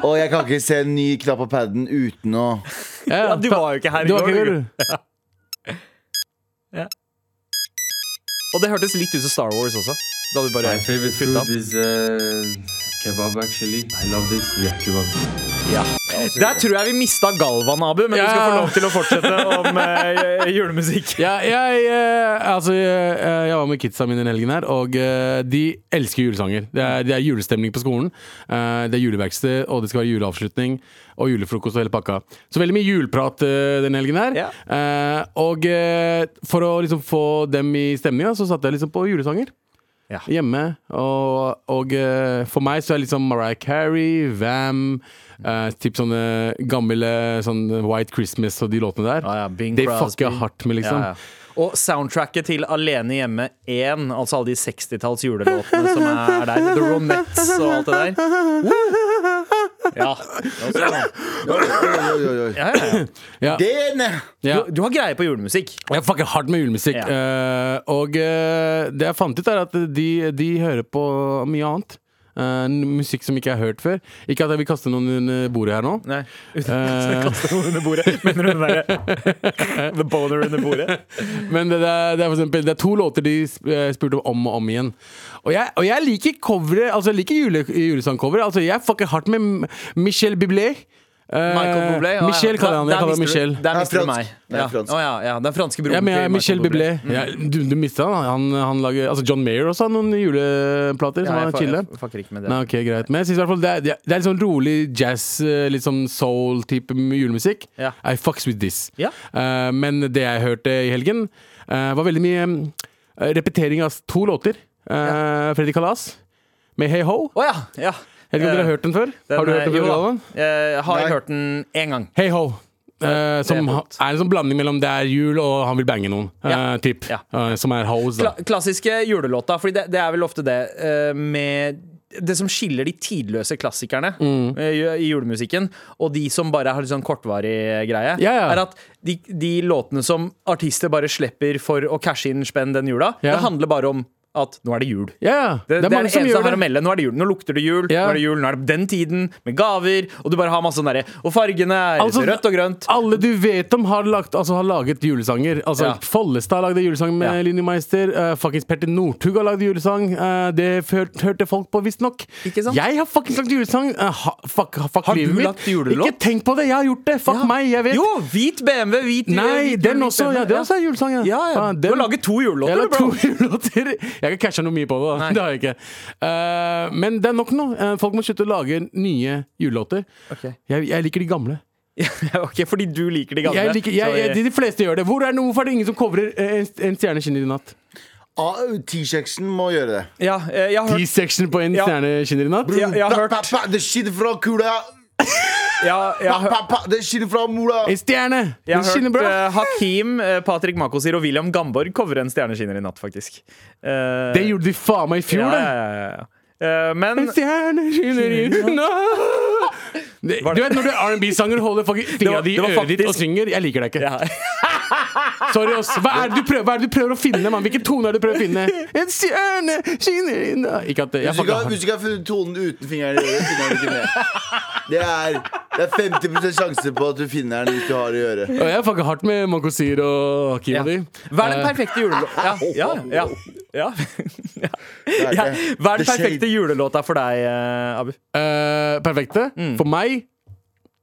Og jeg kan ikke se en ny knapp på paden uten å
Ja,
du var jo ikke her i
Du var
går,
ikke
du.
her, du.
Og det hørtes litt ut som Star Wars også. Da du bare
My favorite
putta den.
food is uh, kebab actually. I love this. Yeah, kebab.
Der tror jeg vi mista Galvan, Abu, men du skal få
Ja.
lov til å fortsette om eh, julemusikk.
Ja, jeg, eh, altså, jeg, eh, jeg var med kidsa mine den helgen her, og eh, de elsker julesanger. Det er, det er julestemning på skolen. eh, det er juleverksted, og det skal være juleavslutning og julefrokost og hele pakka. Så veldig mye juleprat eh, den helgen her.
Ja.
Eh, og eh, for å liksom få dem i stemninga, så satte jeg liksom på julesanger.
Ja.
Hjemme. Og, og eh, for meg så er liksom Mariah Carey, Vam eh, Typ sånne gamle sånn White Christmas og de låtene der.
Ah, Ja, ja, Bing
de
Crosby.
fucker jeg hardt med, liksom.
Ja, ja. Og soundtracket til Alene hjemme 1, altså alle de 60-talls julelåtene som er der. The Ronettes og alt det der. Ja.
Oi, oi, oi.
ja, ja.
Den! eh,
Ja.
Du, du har greie på julemusikk.
Jeg fucker hardt med julemusikk.
Ja.
eh, og eh, det jeg fant ut, er at de, de hører på mye annet. Eh, n- musikk som ikke jeg har hørt før. Ikke at jeg vil kaste noen under bordet her nå.
Nei,
Eh,
under bordet. Mener du den derre The boner under bordet?
men det, det, er, det, er for eksempel, det er to låter de sp- eh, spurte om om og om igjen. Og jeg, og jeg liker coveret. Altså, jeg liker jule, julesangcoveret. Altså, jeg fucker hardt med M- Michel Bublé. Eh,
Michael Bublé. ja, ja.
Michel kaller jeg han. Jeg
Der- der
kaller han
mister
Michel.
du- Der
er
mister du
fransk.
meg.
Det er
Ja.
fransk.
Å, ja, ja. Den franske broren
Ja, men jeg,
til
Michel
Michael
Bublé. Ja, du du mista han. han. Han lager altså John Mayer også har noen juleplater som
Nei,
er
jeg fa-
chille.
jeg Fucker ikke med det.
Nei, ok, greit Men jeg synes i hvert fall det er, det er litt sånn rolig jazz, eh, litt sånn soul-type julemusikk.
Ja.
I fucks with this.
Ja.
Eh, men det jeg hørte i helgen, eh, var veldig mye mm, repetering av to låter. Eh, Freddy Kalas med Hey Ho.
Å ja. ja.
Jeg vet ikke om dere
Eh,
har hørt den før?
den
har du
er-
hørt den
jo
før?
da.
Galvan?
Eh, Har jeg
Nei.
hørt den én gang.
Hey Ho. eh, som
det er
ha-
godt.
er en sånn blanding mellom det er jul og han vil bange noen. eh,
Ja.
typ.
Ja.
Eh, som er hoes, da.
Kla klassiske julelåta, Fordi det, det er vel ofte det eh, med det som skiller de tidløse klassikerne
Mm.
eh, i i julemusikken, og de som bare har litt sånn kortvarig greie,
Ja, ja.
er at de, de låtene som artister bare slipper for å cashe inn spenn den jula,
Ja.
det handler bare om at nå er det jul.
Ja, ja.
Det, det er,
mange
det
som
eneste jeg
gjør
har å
det.
melde. Nå er det jul. Nå lukter det jul.
Ja.
Nå er det jul, nå er det den tiden, med gaver. Og du bare har masse sånn derre Og fargene er
Altså,
rødt og grønt.
Alle du vet om, har, lagt, altså, har laget julesanger. Altså,
Ja.
Follestad lagde julesang med
Ja.
Linni Meister. Uh, fuckings Petter Northug har lagd julesang. Eh, det før, hørte folk på, visstnok.
Ikke sant?
Jeg har fuckings lagd julesang! Eh, ha, fuck fuck
Har du
livet mitt.
lagt julelåt?
Ikke tenk på det! Jeg har gjort det! Fuck
Ja.
meg! Jeg vet.
Jo, hvit BMW, hvit
Nei,
hvit-
den
hvit
også!
BMW,
Ja, det også er julesang.
Ja, ja.
Faen,
Du
den-
har laget to
jeg
julelåter,
har
du,
lagd
bro.
to julelåter. Jeg har ikke casha noe mye på det. da.
Nei.
Det har jeg ikke. Eh, men det er nok nå. Eh, folk må slutte å lage nye julelåter.
Ok.
Jeg, jeg liker de gamle.
Ja, ok, fordi du liker de gamle.
Jeg liker, jeg, jeg, de, de fleste gjør det. Hvor er det, hvorfor er det ingen som covrer eh, en, en stjerne skinner i natt?
Ah, T-sexen må gjøre det.
ja, eh, jeg har hørt
T-section på en
Ja.
stjerne skinner i natt?
jeg, jeg har
Pa,
hørt,
pa, pa, det skinner fra kula.
ja, jeg,
Pa,
har hørt-
pa, pa, det skinner fra mora.
En stjerne!
jeg
Den
har hørt
skinner bra!
eh, Hakim, uh, Patrick Makosir og William Gamborg covre en stjerneskinner i natt, faktisk. Eh,
Det gjorde de faen meg i fjor,
ja,
det!
ja, ja, ja. Eh, men
En stjerne skinner i natt Det- Du vet når du er R&B-sanger, holder fucking fingra
var-
di i
det var
øret ditt og
faktisk-
synger. Jeg liker deg ikke.
ja.
Sorry, ass. Hva er det du prøver, hva er det du prøver å finne, mann? Hvilken tone er det du prøver å finne? En stjerne skinner i natt Ikke at det- jeg
Hvis du ikke
fucka
har- hvis du ikke har funnet tonen uten fingeren i øret, finner du ikke med. Det er, det er 50 sjanse på at du finner den hvis du har i øret.
Og jeg fucka hardt med Mokosir og Hakim
Ja.
og de.
Hva er den
Eh,
perfekte julelåta ja, ja, ja, ja.
er
ja.
det.
Hva er
The Shade.
den perfekte julelåta for deg, eh, Abu?
Eh, perfekte.
Mm.
For meg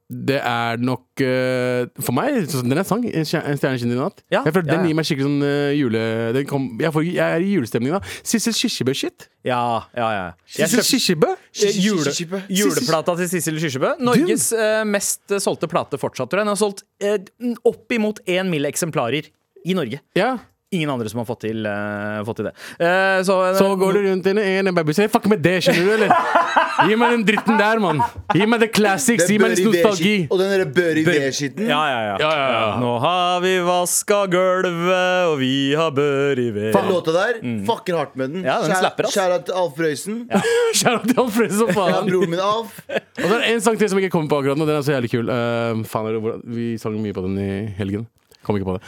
det er nok eh, For meg, så- den er sang. En stjer- en stjerne skinner i natt.
Ja,
jeg føler
ja,
Den
ja.
gir meg skikkelig sånn eh, jule... Den kom, jeg, får, jeg er i julestemning da. Sissel Kirsebø-shit.
Ja, ja, ja. Jeg
Sissel
kjøpte
Kirsebø?
Eh, jule,
Kirsebø.
juleplata til Sissel Kirsebø. Norges eh, mest eh, solgte plate fortsatt. tror jeg. Den har solgt eh, opp imot én mill. eksemplarer i Norge.
Ja.
Ingen andre som har fått til, eh, fått til det. Eh, så, eh,
Så går du rundt i en- en baby Jeg fucker med det, skjønner du, eller? Gi meg den dritten der, mann. Gi meg the classics.
Den
Gi meg litt
bør i
nostalgi.
V-skitten- Og den derre bør i V-skitten.
ja, ja, ja.
Ja, ja, ja.
Nå har vi vaska gulvet, og vi har bør i ved.
Den låta der fucker hardt med den.
Ja, den
Kjære-
slapper, ass.
Kjære til Alf Røisen.
Kjære til Alfred som
Ja,
faen.
broren min Alf.
Og så er det en sang til som ikke kommer på akkurat nå. Den er så jævlig kul. Eh, faen, er det, hvordan- vi sang mye på den i helgen. Kom ikke på det.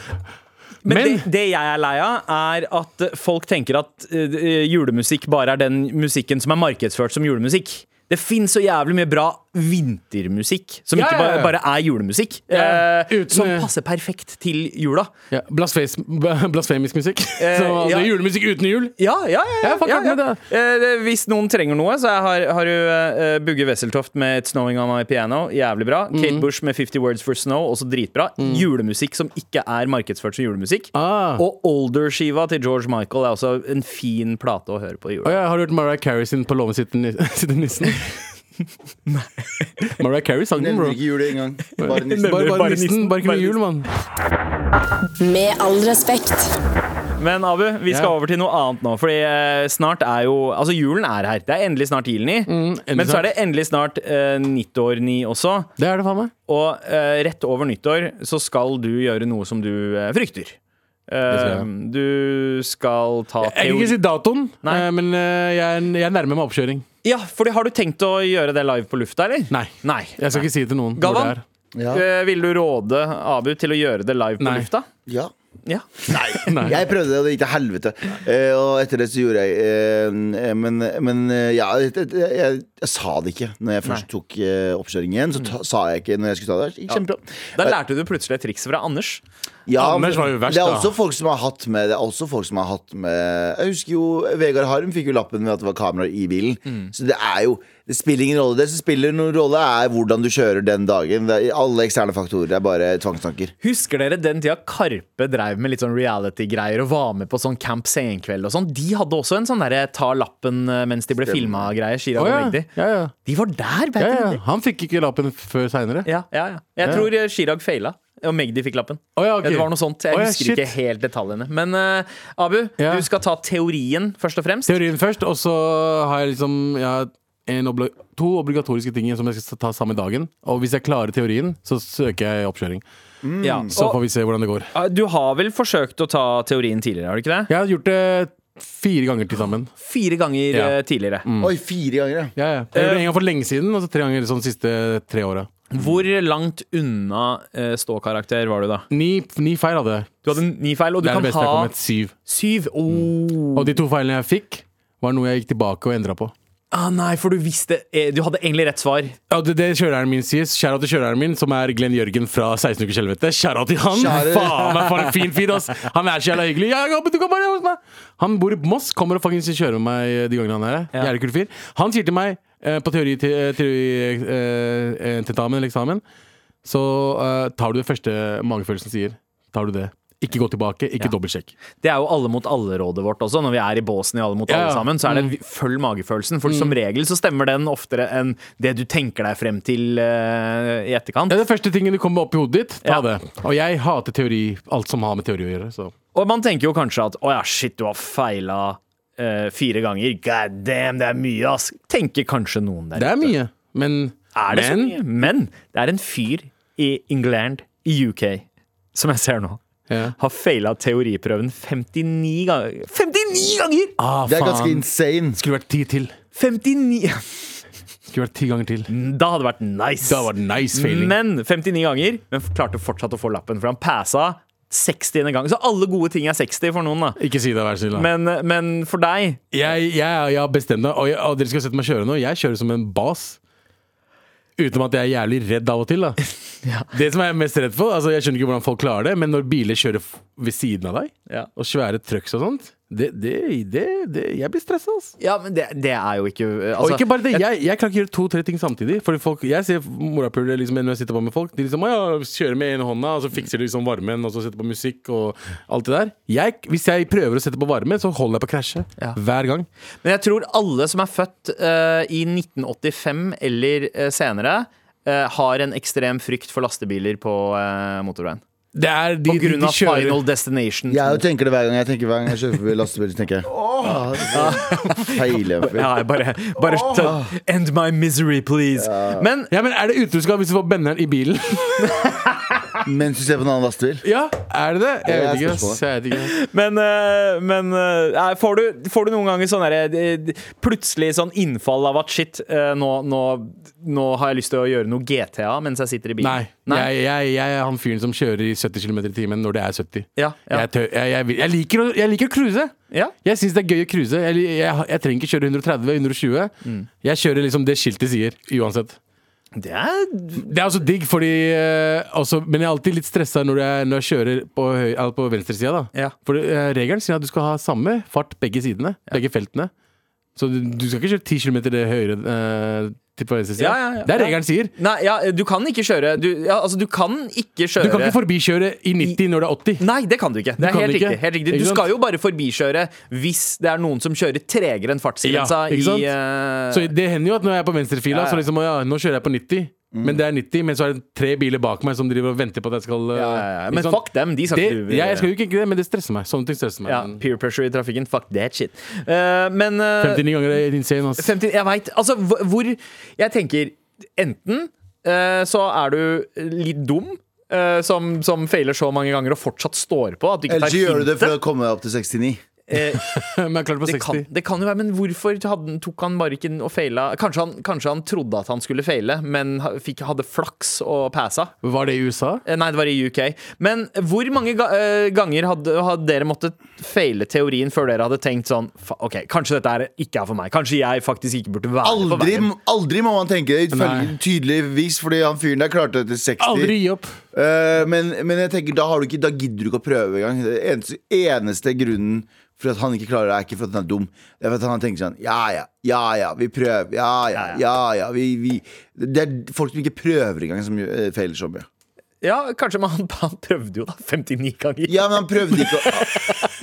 Men,
Men-
det, det jeg er lei av, er at eh, folk tenker at eh, julemusikk bare er den musikken som er markedsført som julemusikk. Det fins så jævlig mye bra vintermusikk som
Ja,
ikke
ja,
bare,
ja.
bare er julemusikk.
Ja,
eh,
uten-
som passer perfekt til jula.
Ja, blasfes, b- blasfemisk musikk.
Eh,
så, altså,
ja.
Julemusikk uten jul.
Ja, ja, ja.
Ja, fuck off med
Eh, det- hvis noen trenger noe, så jeg har, har du eh, Bugge Wesseltoft med 'It's Snowing On My Piano'. Jævlig bra.
Mm.
Kate Bush med 'Fifty Words For Snow', også dritbra. Julemusikk som ikke er markedsført som julemusikk.
Ah.
Og Older-skiva til George Michael er også en fin plate å høre på i
Å
jula.
ja, har du hørt Mariah Carey sin på låven sitter, ni sitter nissen? Mariah Carey sang den, bro.
Nevner ikke julet engang. Bare nissen.
Bare, bare
Bare
nissen,
nissen,
bare ikke
bare
med jul, mann.
Med all respekt.
Men Abu, vi skal
Ja.
over til noe annet nå. Fordi eh, snart er jo Altså, julen er her. Det er endelig snart julen i. Men så
Mm, snart.
er det endelig snart eh, nyttår-ni også.
Det er det faen meg.
Og eh, rett over nyttår så skal du gjøre noe som du eh, frykter.
skal jeg.
Eh, du skal ta
Jeg kan ikke si datoen,
Nei.
eh, men eh, jeg, er- jeg nærmer meg oppkjøring.
Ja, fordi Har du tenkt å gjøre det live på lufta, eller?
Nei.
Nei.
Jeg skal ikke si det til noen. hvor det
Galvan?
er.
Ja.
Eh, vil du råde Abu til å gjøre det live på
Nei.
lufta?
ja.
Ja.
Nei.
Jeg prøvde det, og det gikk til helvete. Eh, og etter det så gjorde jeg eh, Men, men eh, ja, jeg, jeg, jeg, jeg sa det ikke når jeg først tok eh, oppkjøringen. Så ta, sa jeg ikke når jeg skulle ta det. Det Gikk kjempebra.
Da lærte du plutselig et triks fra Anders.
Ja,
Anders
men
var jo verst,
det er
da.
også folk som har hatt med Det er også folk som har hatt med Jeg husker jo Vegard Harm fikk jo lappen med at det var kameraer i bilen.
Mm.
Så det er jo Det spiller ingen rolle. Det som spiller noen rolle, er hvordan du kjører den dagen. Det er, alle eksterne faktorer er bare tvangstanker.
Husker dere den tida Karpe dreiv med litt sånn reality-greier og var med på sånn Camp Senkveld og sånn? De hadde også en sånn derre ta lappen eh, mens de ble filma-greie.
Å
Shirag og
ja.
Magdi.
Ja, ja.
De var der,
Ja,
vet
ja.
du.
Han fikk ikke lappen før seinere.
Ja, ja, ja. Jeg
Ja.
tror eh, Chirag feila, og Magdi fikk lappen.
Å ja, ok.
Ja, Det var noe sånt. Jeg
Å ja,
husker
shit.
ikke helt detaljene. Men eh, Abu,
Ja.
du skal ta teorien først og fremst.
Teorien først, og så har jeg liksom jeg har en obli to obligatoriske ting som jeg skal ta samme dagen. Og hvis jeg klarer teorien, så søker jeg oppkjøring.
Ja. Ah,
Så
Og,
Mm. får vi se hvordan det går.
eh, du har vel forsøkt å ta teorien tidligere, har du ikke det?
Jeg har gjort det Fire ganger til sammen.
Fire ganger
Ja. Mm.
eh, tidligere.
Oi, fire ganger, ja.
Ja, ja. Jeg
Eh,
gjorde det en gang for lenge siden, og så tre ganger sånn siste tre åra.
Hvor langt unna eh, ståkarakter var du da?
Ni, ni feil hadde jeg.
Du hadde ni feil, og du
Det er
kan
det beste jeg
ha
kom med. Syv.
syv. Åh
Og de to feilene jeg fikk, var noe jeg gikk tilbake og endra på.
Ah, nei, for du visste eh, Du hadde egentlig rett svar.
Ja, det, det kjøreren min sier. Shout-out til kjøreren min, som er Glenn Jørgen fra 16 ukers helvete. Shout-out til han!
Shout-out.
Faen meg for en fin fyr, ass! Han er så jævla hyggelig. Ja, ja, men du kan bare hos meg. Han bor i Moss, kommer og fuckings kjører med meg eh, de gangene han er her. Jævlig kul fyr. Han sier til meg eh, på teori, te, teori eh, eh, tentamen eller eksamen Så eh, tar du det første magefølelsen sier. Tar du det. Ikke gå tilbake, ikke dobbeltsjekk.
Det er jo alle mot alle-rådet vårt også. Når vi er i båsen i Alle mot
Ja, Mm.
alle
ja.
sammen, så er det vi- følg magefølelsen. For som regel så stemmer den oftere enn det du tenker deg frem til eh, i etterkant.
Det er det første tingen du kommer opp i hodet ditt. Ta
Ja.
det. Og jeg hater teori, alt som har med teori å gjøre. Så.
Og man tenker jo kanskje at å ja, shit, du har feila eh, fire ganger. God damn, det er mye, ass. Tenker kanskje noen der.
Det er mye. Men,
Er det
men
så mye? Men det er en fyr i England, i UK, som jeg ser nå,
Ja.
har faila teoriprøven 59 ganger. 59 ganger!
Ah,
Det er ganske
faen.
insane.
Skulle vært ti til.
59
Skulle vært ti ganger til.
Da hadde det vært nice.
Mm, Da var det nice failing.
Men 59 ganger, men klarte fortsatt å få lappen, for han passa 60. gang. Så alle gode ting er 60 for noen, da.
ikke si det, vær så snill. da.
Men, men for deg
Jeg, jeg, jeg har bestemt meg, og, jeg, og dere skal sette meg kjøre nå. Jeg kjører som en bas. Utenom at jeg er jævlig redd av og til. Da. Det som jeg er mest redd for altså Jeg skjønner ikke hvordan folk klarer det, men når biler kjører f- ved siden av deg,
Ja.
og svære trucks og sånt det, det, det, det, Jeg blir stressa, altså.
Ja, men det, det er jo ikke eh,
Og
altså,
ikke bare det, jeg, jeg kan ikke gjøre to-tre ting samtidig. Fordi folk, Jeg ser morapuler liksom, når jeg sitter på med folk. De liksom, «Å ja, kjører med ene hånda, og så fikser de liksom varmen, og så setter på musikk og alt det der. Jeg, hvis jeg prøver å sette på varme, så holder jeg på å krasje.
Ja.
Hver gang.
Men jeg tror alle som er født eh, i 1985 eller eh, senere, eh, har en ekstrem frykt for lastebiler på eh, motorveien.
Det er de,
På
de,
grunn
de
av
kjører
Final Destination.
Jeg jo tenker det hver gang jeg tenker hver gang jeg kjører forbi lastebil. Så tenker jeg ah, Feil.
Ja, jeg bare, bare ta- End my misery, please. Men
Ja, men Er det utroskap hvis du får benderen i bilen?
Mens du ser på en annen lastebil.
ja, er det det? Jeg
Det er
vet ikke.
spørsmålet.
ass. Jeg vet ikke.
Men, eh, men eh, nei, får, du, får du noen ganger sånn derre, eh, plutselig sånn innfall av at shit, eh, nå, nå, nå har jeg lyst til å gjøre noe GTA mens jeg sitter i bilen?
Nei.
Nei?
Jeg, jeg, jeg er han fyren som kjører i 70 km i timen når det er 70.
Ja, ja.
Jeg, tør, jeg, jeg, vil- jeg liker å- jeg liker å cruise.
Ja.
Jeg syns det er gøy å cruise. Jeg, jeg, jeg trenger ikke kjøre 130-120.
Mm.
Jeg kjører liksom det skiltet sier, uansett.
Det er
Det er også digg, fordi eh, også, Men jeg er alltid litt stressa når jeg, når jeg kjører på, høy- eller på venstresida.
Ja.
For eh, regelen sier at du skal ha samme fart begge sidene. Begge feltene. Så du, du skal ikke kjøre 10 km høyere eh, til på venstresida.
Ja, ja, ja.
Det er regelen sier.
Nei, ja, du kan ikke kjøre Du, ja, altså, du kan ikke
Du
kjøre
kan ikke forbikjøre i 90 når det er 80.
Nei, det kan du ikke. Det er
kan
helt,
ikke.
Riktig, helt riktig.
Ikke
Du
sant?
skal jo bare forbikjøre hvis det er noen som kjører tregere enn fartsgrensa
Ja, ikke sant?
i eh,
Så det hender jo at når jeg er på venstrefila,
Ja, ja.
så liksom, å ja, nå kjører jeg på 90. Men det er 90, men så er det tre biler bak meg som driver og venter på at jeg skal eh,
ja, ja, ja.
ikke
Men
sant?
fuck dem, de skal
det,
ikke du-
jeg skal jo ikke det, men det stresser meg. Sånne ting stresser meg.
ja,
Men
Peer pressure i trafikken, fuck that shit. Eh, men eh,
59 ganger er insane, ass.
50, jeg veit. Altså, hv- hvor Jeg tenker enten eh, så er du litt dum, eh, som, som feiler så mange ganger og fortsatt står på. At du ikke
Eller
tar
så gjør du det
hintet.
for å komme deg opp til 69.
Eh,
Men jeg klarte på
det,
60.
kan, det kan jo være, men hvorfor hadde, han- tok han bare ikke og feila? Kanskje han, kanskje han trodde at han skulle feile, men ha- fikk, hadde flaks og passa?
Var det i USA?
Eh, Nei, det var i UK. Men hvor mange ga eh, ganger hadde, hadde dere måttet feile teorien før dere hadde tenkt sånn "Fa- OK, kanskje dette her ikke er for meg. Kanskje jeg faktisk ikke burde være på
Aldri,
veien.
aldri må man tenke det,
Nei.
ifølge- tydeligvis, fordi han fyren der klarte det til 60.
Aldri gi opp.
Eh, men, men jeg tenker, da, har du ikke, da gidder du ikke å prøve engang. Det Eneste, eneste grunnen for at han ikke klarer det, er ikke for at han er dum. Det er for at han har tenkt sånn Ja ja, ja ja, vi prøver. Ja ja, ja ja. Vi, vi. Det er folk som ikke prøver engang, som eh, feiler så mye.
Ja, kanskje, men han, han prøvde jo da 59 ganger.
Ja, men han prøvde ikke å,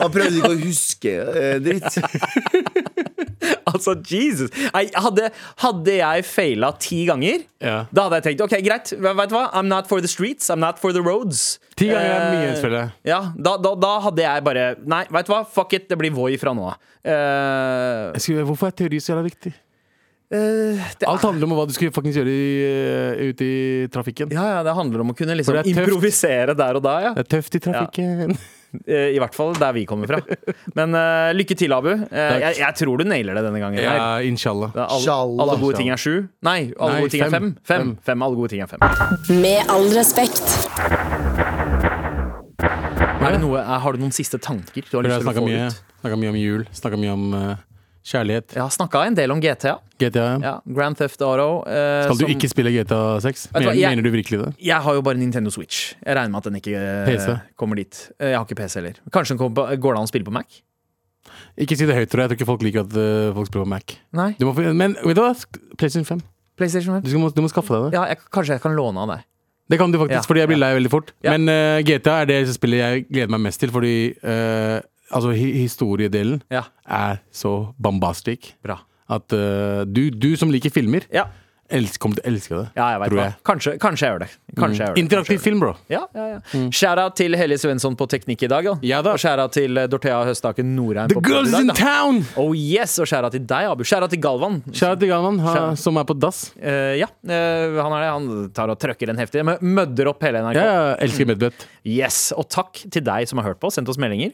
han prøvde ikke å huske eh, dritt.
Altså, Jesus! Nei, hadde, hadde jeg feila ti ganger,
Ja.
da hadde jeg tenkt OK, greit, vet du hva? I'm not for the streets, I'm not for the roads.
Ti ganger er mye,
Eh,
føler jeg.
Ja, da, da, da hadde jeg bare Nei, vet du hva? Fuck it, det blir Voi fra nå av. Eh,
Jeg skulle, hvorfor er teori så jævla viktig?
eh, det
Alt
er,
handler om hva du skal faktisk gjøre i, eh, ute i trafikken.
ja, ja, det handler om å kunne
For
liksom
det er tøft.
improvisere der og da, ja.
Det er tøft i trafikken.
Eh, I hvert fall der vi kommer fra. Men eh, lykke til, Abu. Eh, jeg, jeg tror du nailer det denne gangen. her.
Ja, inshallah.
Det er Alle,
Inshallah.
alle gode ting er sju. Nei, alle
Nei,
gode ting er fem.
fem.
Fem.
Fem.
fem. Alle gode ting er fem. Er
Med all respekt.
det noe, er, har du noen siste tanker? Du har
Jeg
lyst
har
til å
snakka
få
mye,
ut?
snakket mye om jul, snakka mye om eh, kjærlighet.
Jeg har snakka en del om GTA.
GTA.
Ja, Grand Theft Auto. eh,
Skal du
som-
ikke spille GTA 6?
Vet du hva,
Mener,
jeg-
mener du virkelig det?
Jeg har jo bare Nintendo Switch. Jeg regner med at den ikke eh,
PC.
kommer dit. Eh, Jeg har ikke PC heller. Kanskje den kommer på, Går det an å spille på Mac?
Ikke si det høyt, tror jeg. Jeg tror ikke folk liker at eh, folk spiller på Mac.
Nei.
Du må, få- men vet du hva? Sk- PlayStation 5.
PlayStation 5?
Du må, du må skaffe deg det.
Ja, jeg, kanskje jeg kan låne av deg.
Det kan du faktisk,
Ja,
fordi jeg blir lei veldig fort.
Ja.
Men eh, GTA er det spillet jeg gleder meg mest til, fordi eh, altså, hi historiedelen
Ja.
er så bombastisk
Bra.
at eh, du, du som liker filmer,
Ja,
elsk, kommer til å elske det.
ja jeg vet
tror
hva.
jeg.
Kanskje, kanskje jeg gjør det. Kanskje jeg gjør det.
Interaktiv film, bro.
Ja, ja, ja. Shout-out til Helje Svensson på teknikk i dag. Da.
Ja da.
Og shout-out til eh, Dorthea Høstaken Norheim.
The
på
girls is
podd i
in
dag, da.
town!
Oh yes, Og shout-out til deg, Abu. Shout-out til Galvan.
Shout out til Galvan, ha-
Shout-
som er på dass.
Eh, ja, eh, han er det. Han tar og trøkker en heftig. men Mødder opp hele NRK.
Jeg elsker
Mm.
Medbet.
Yes, Og takk til deg som har hørt på. Sendt oss meldinger.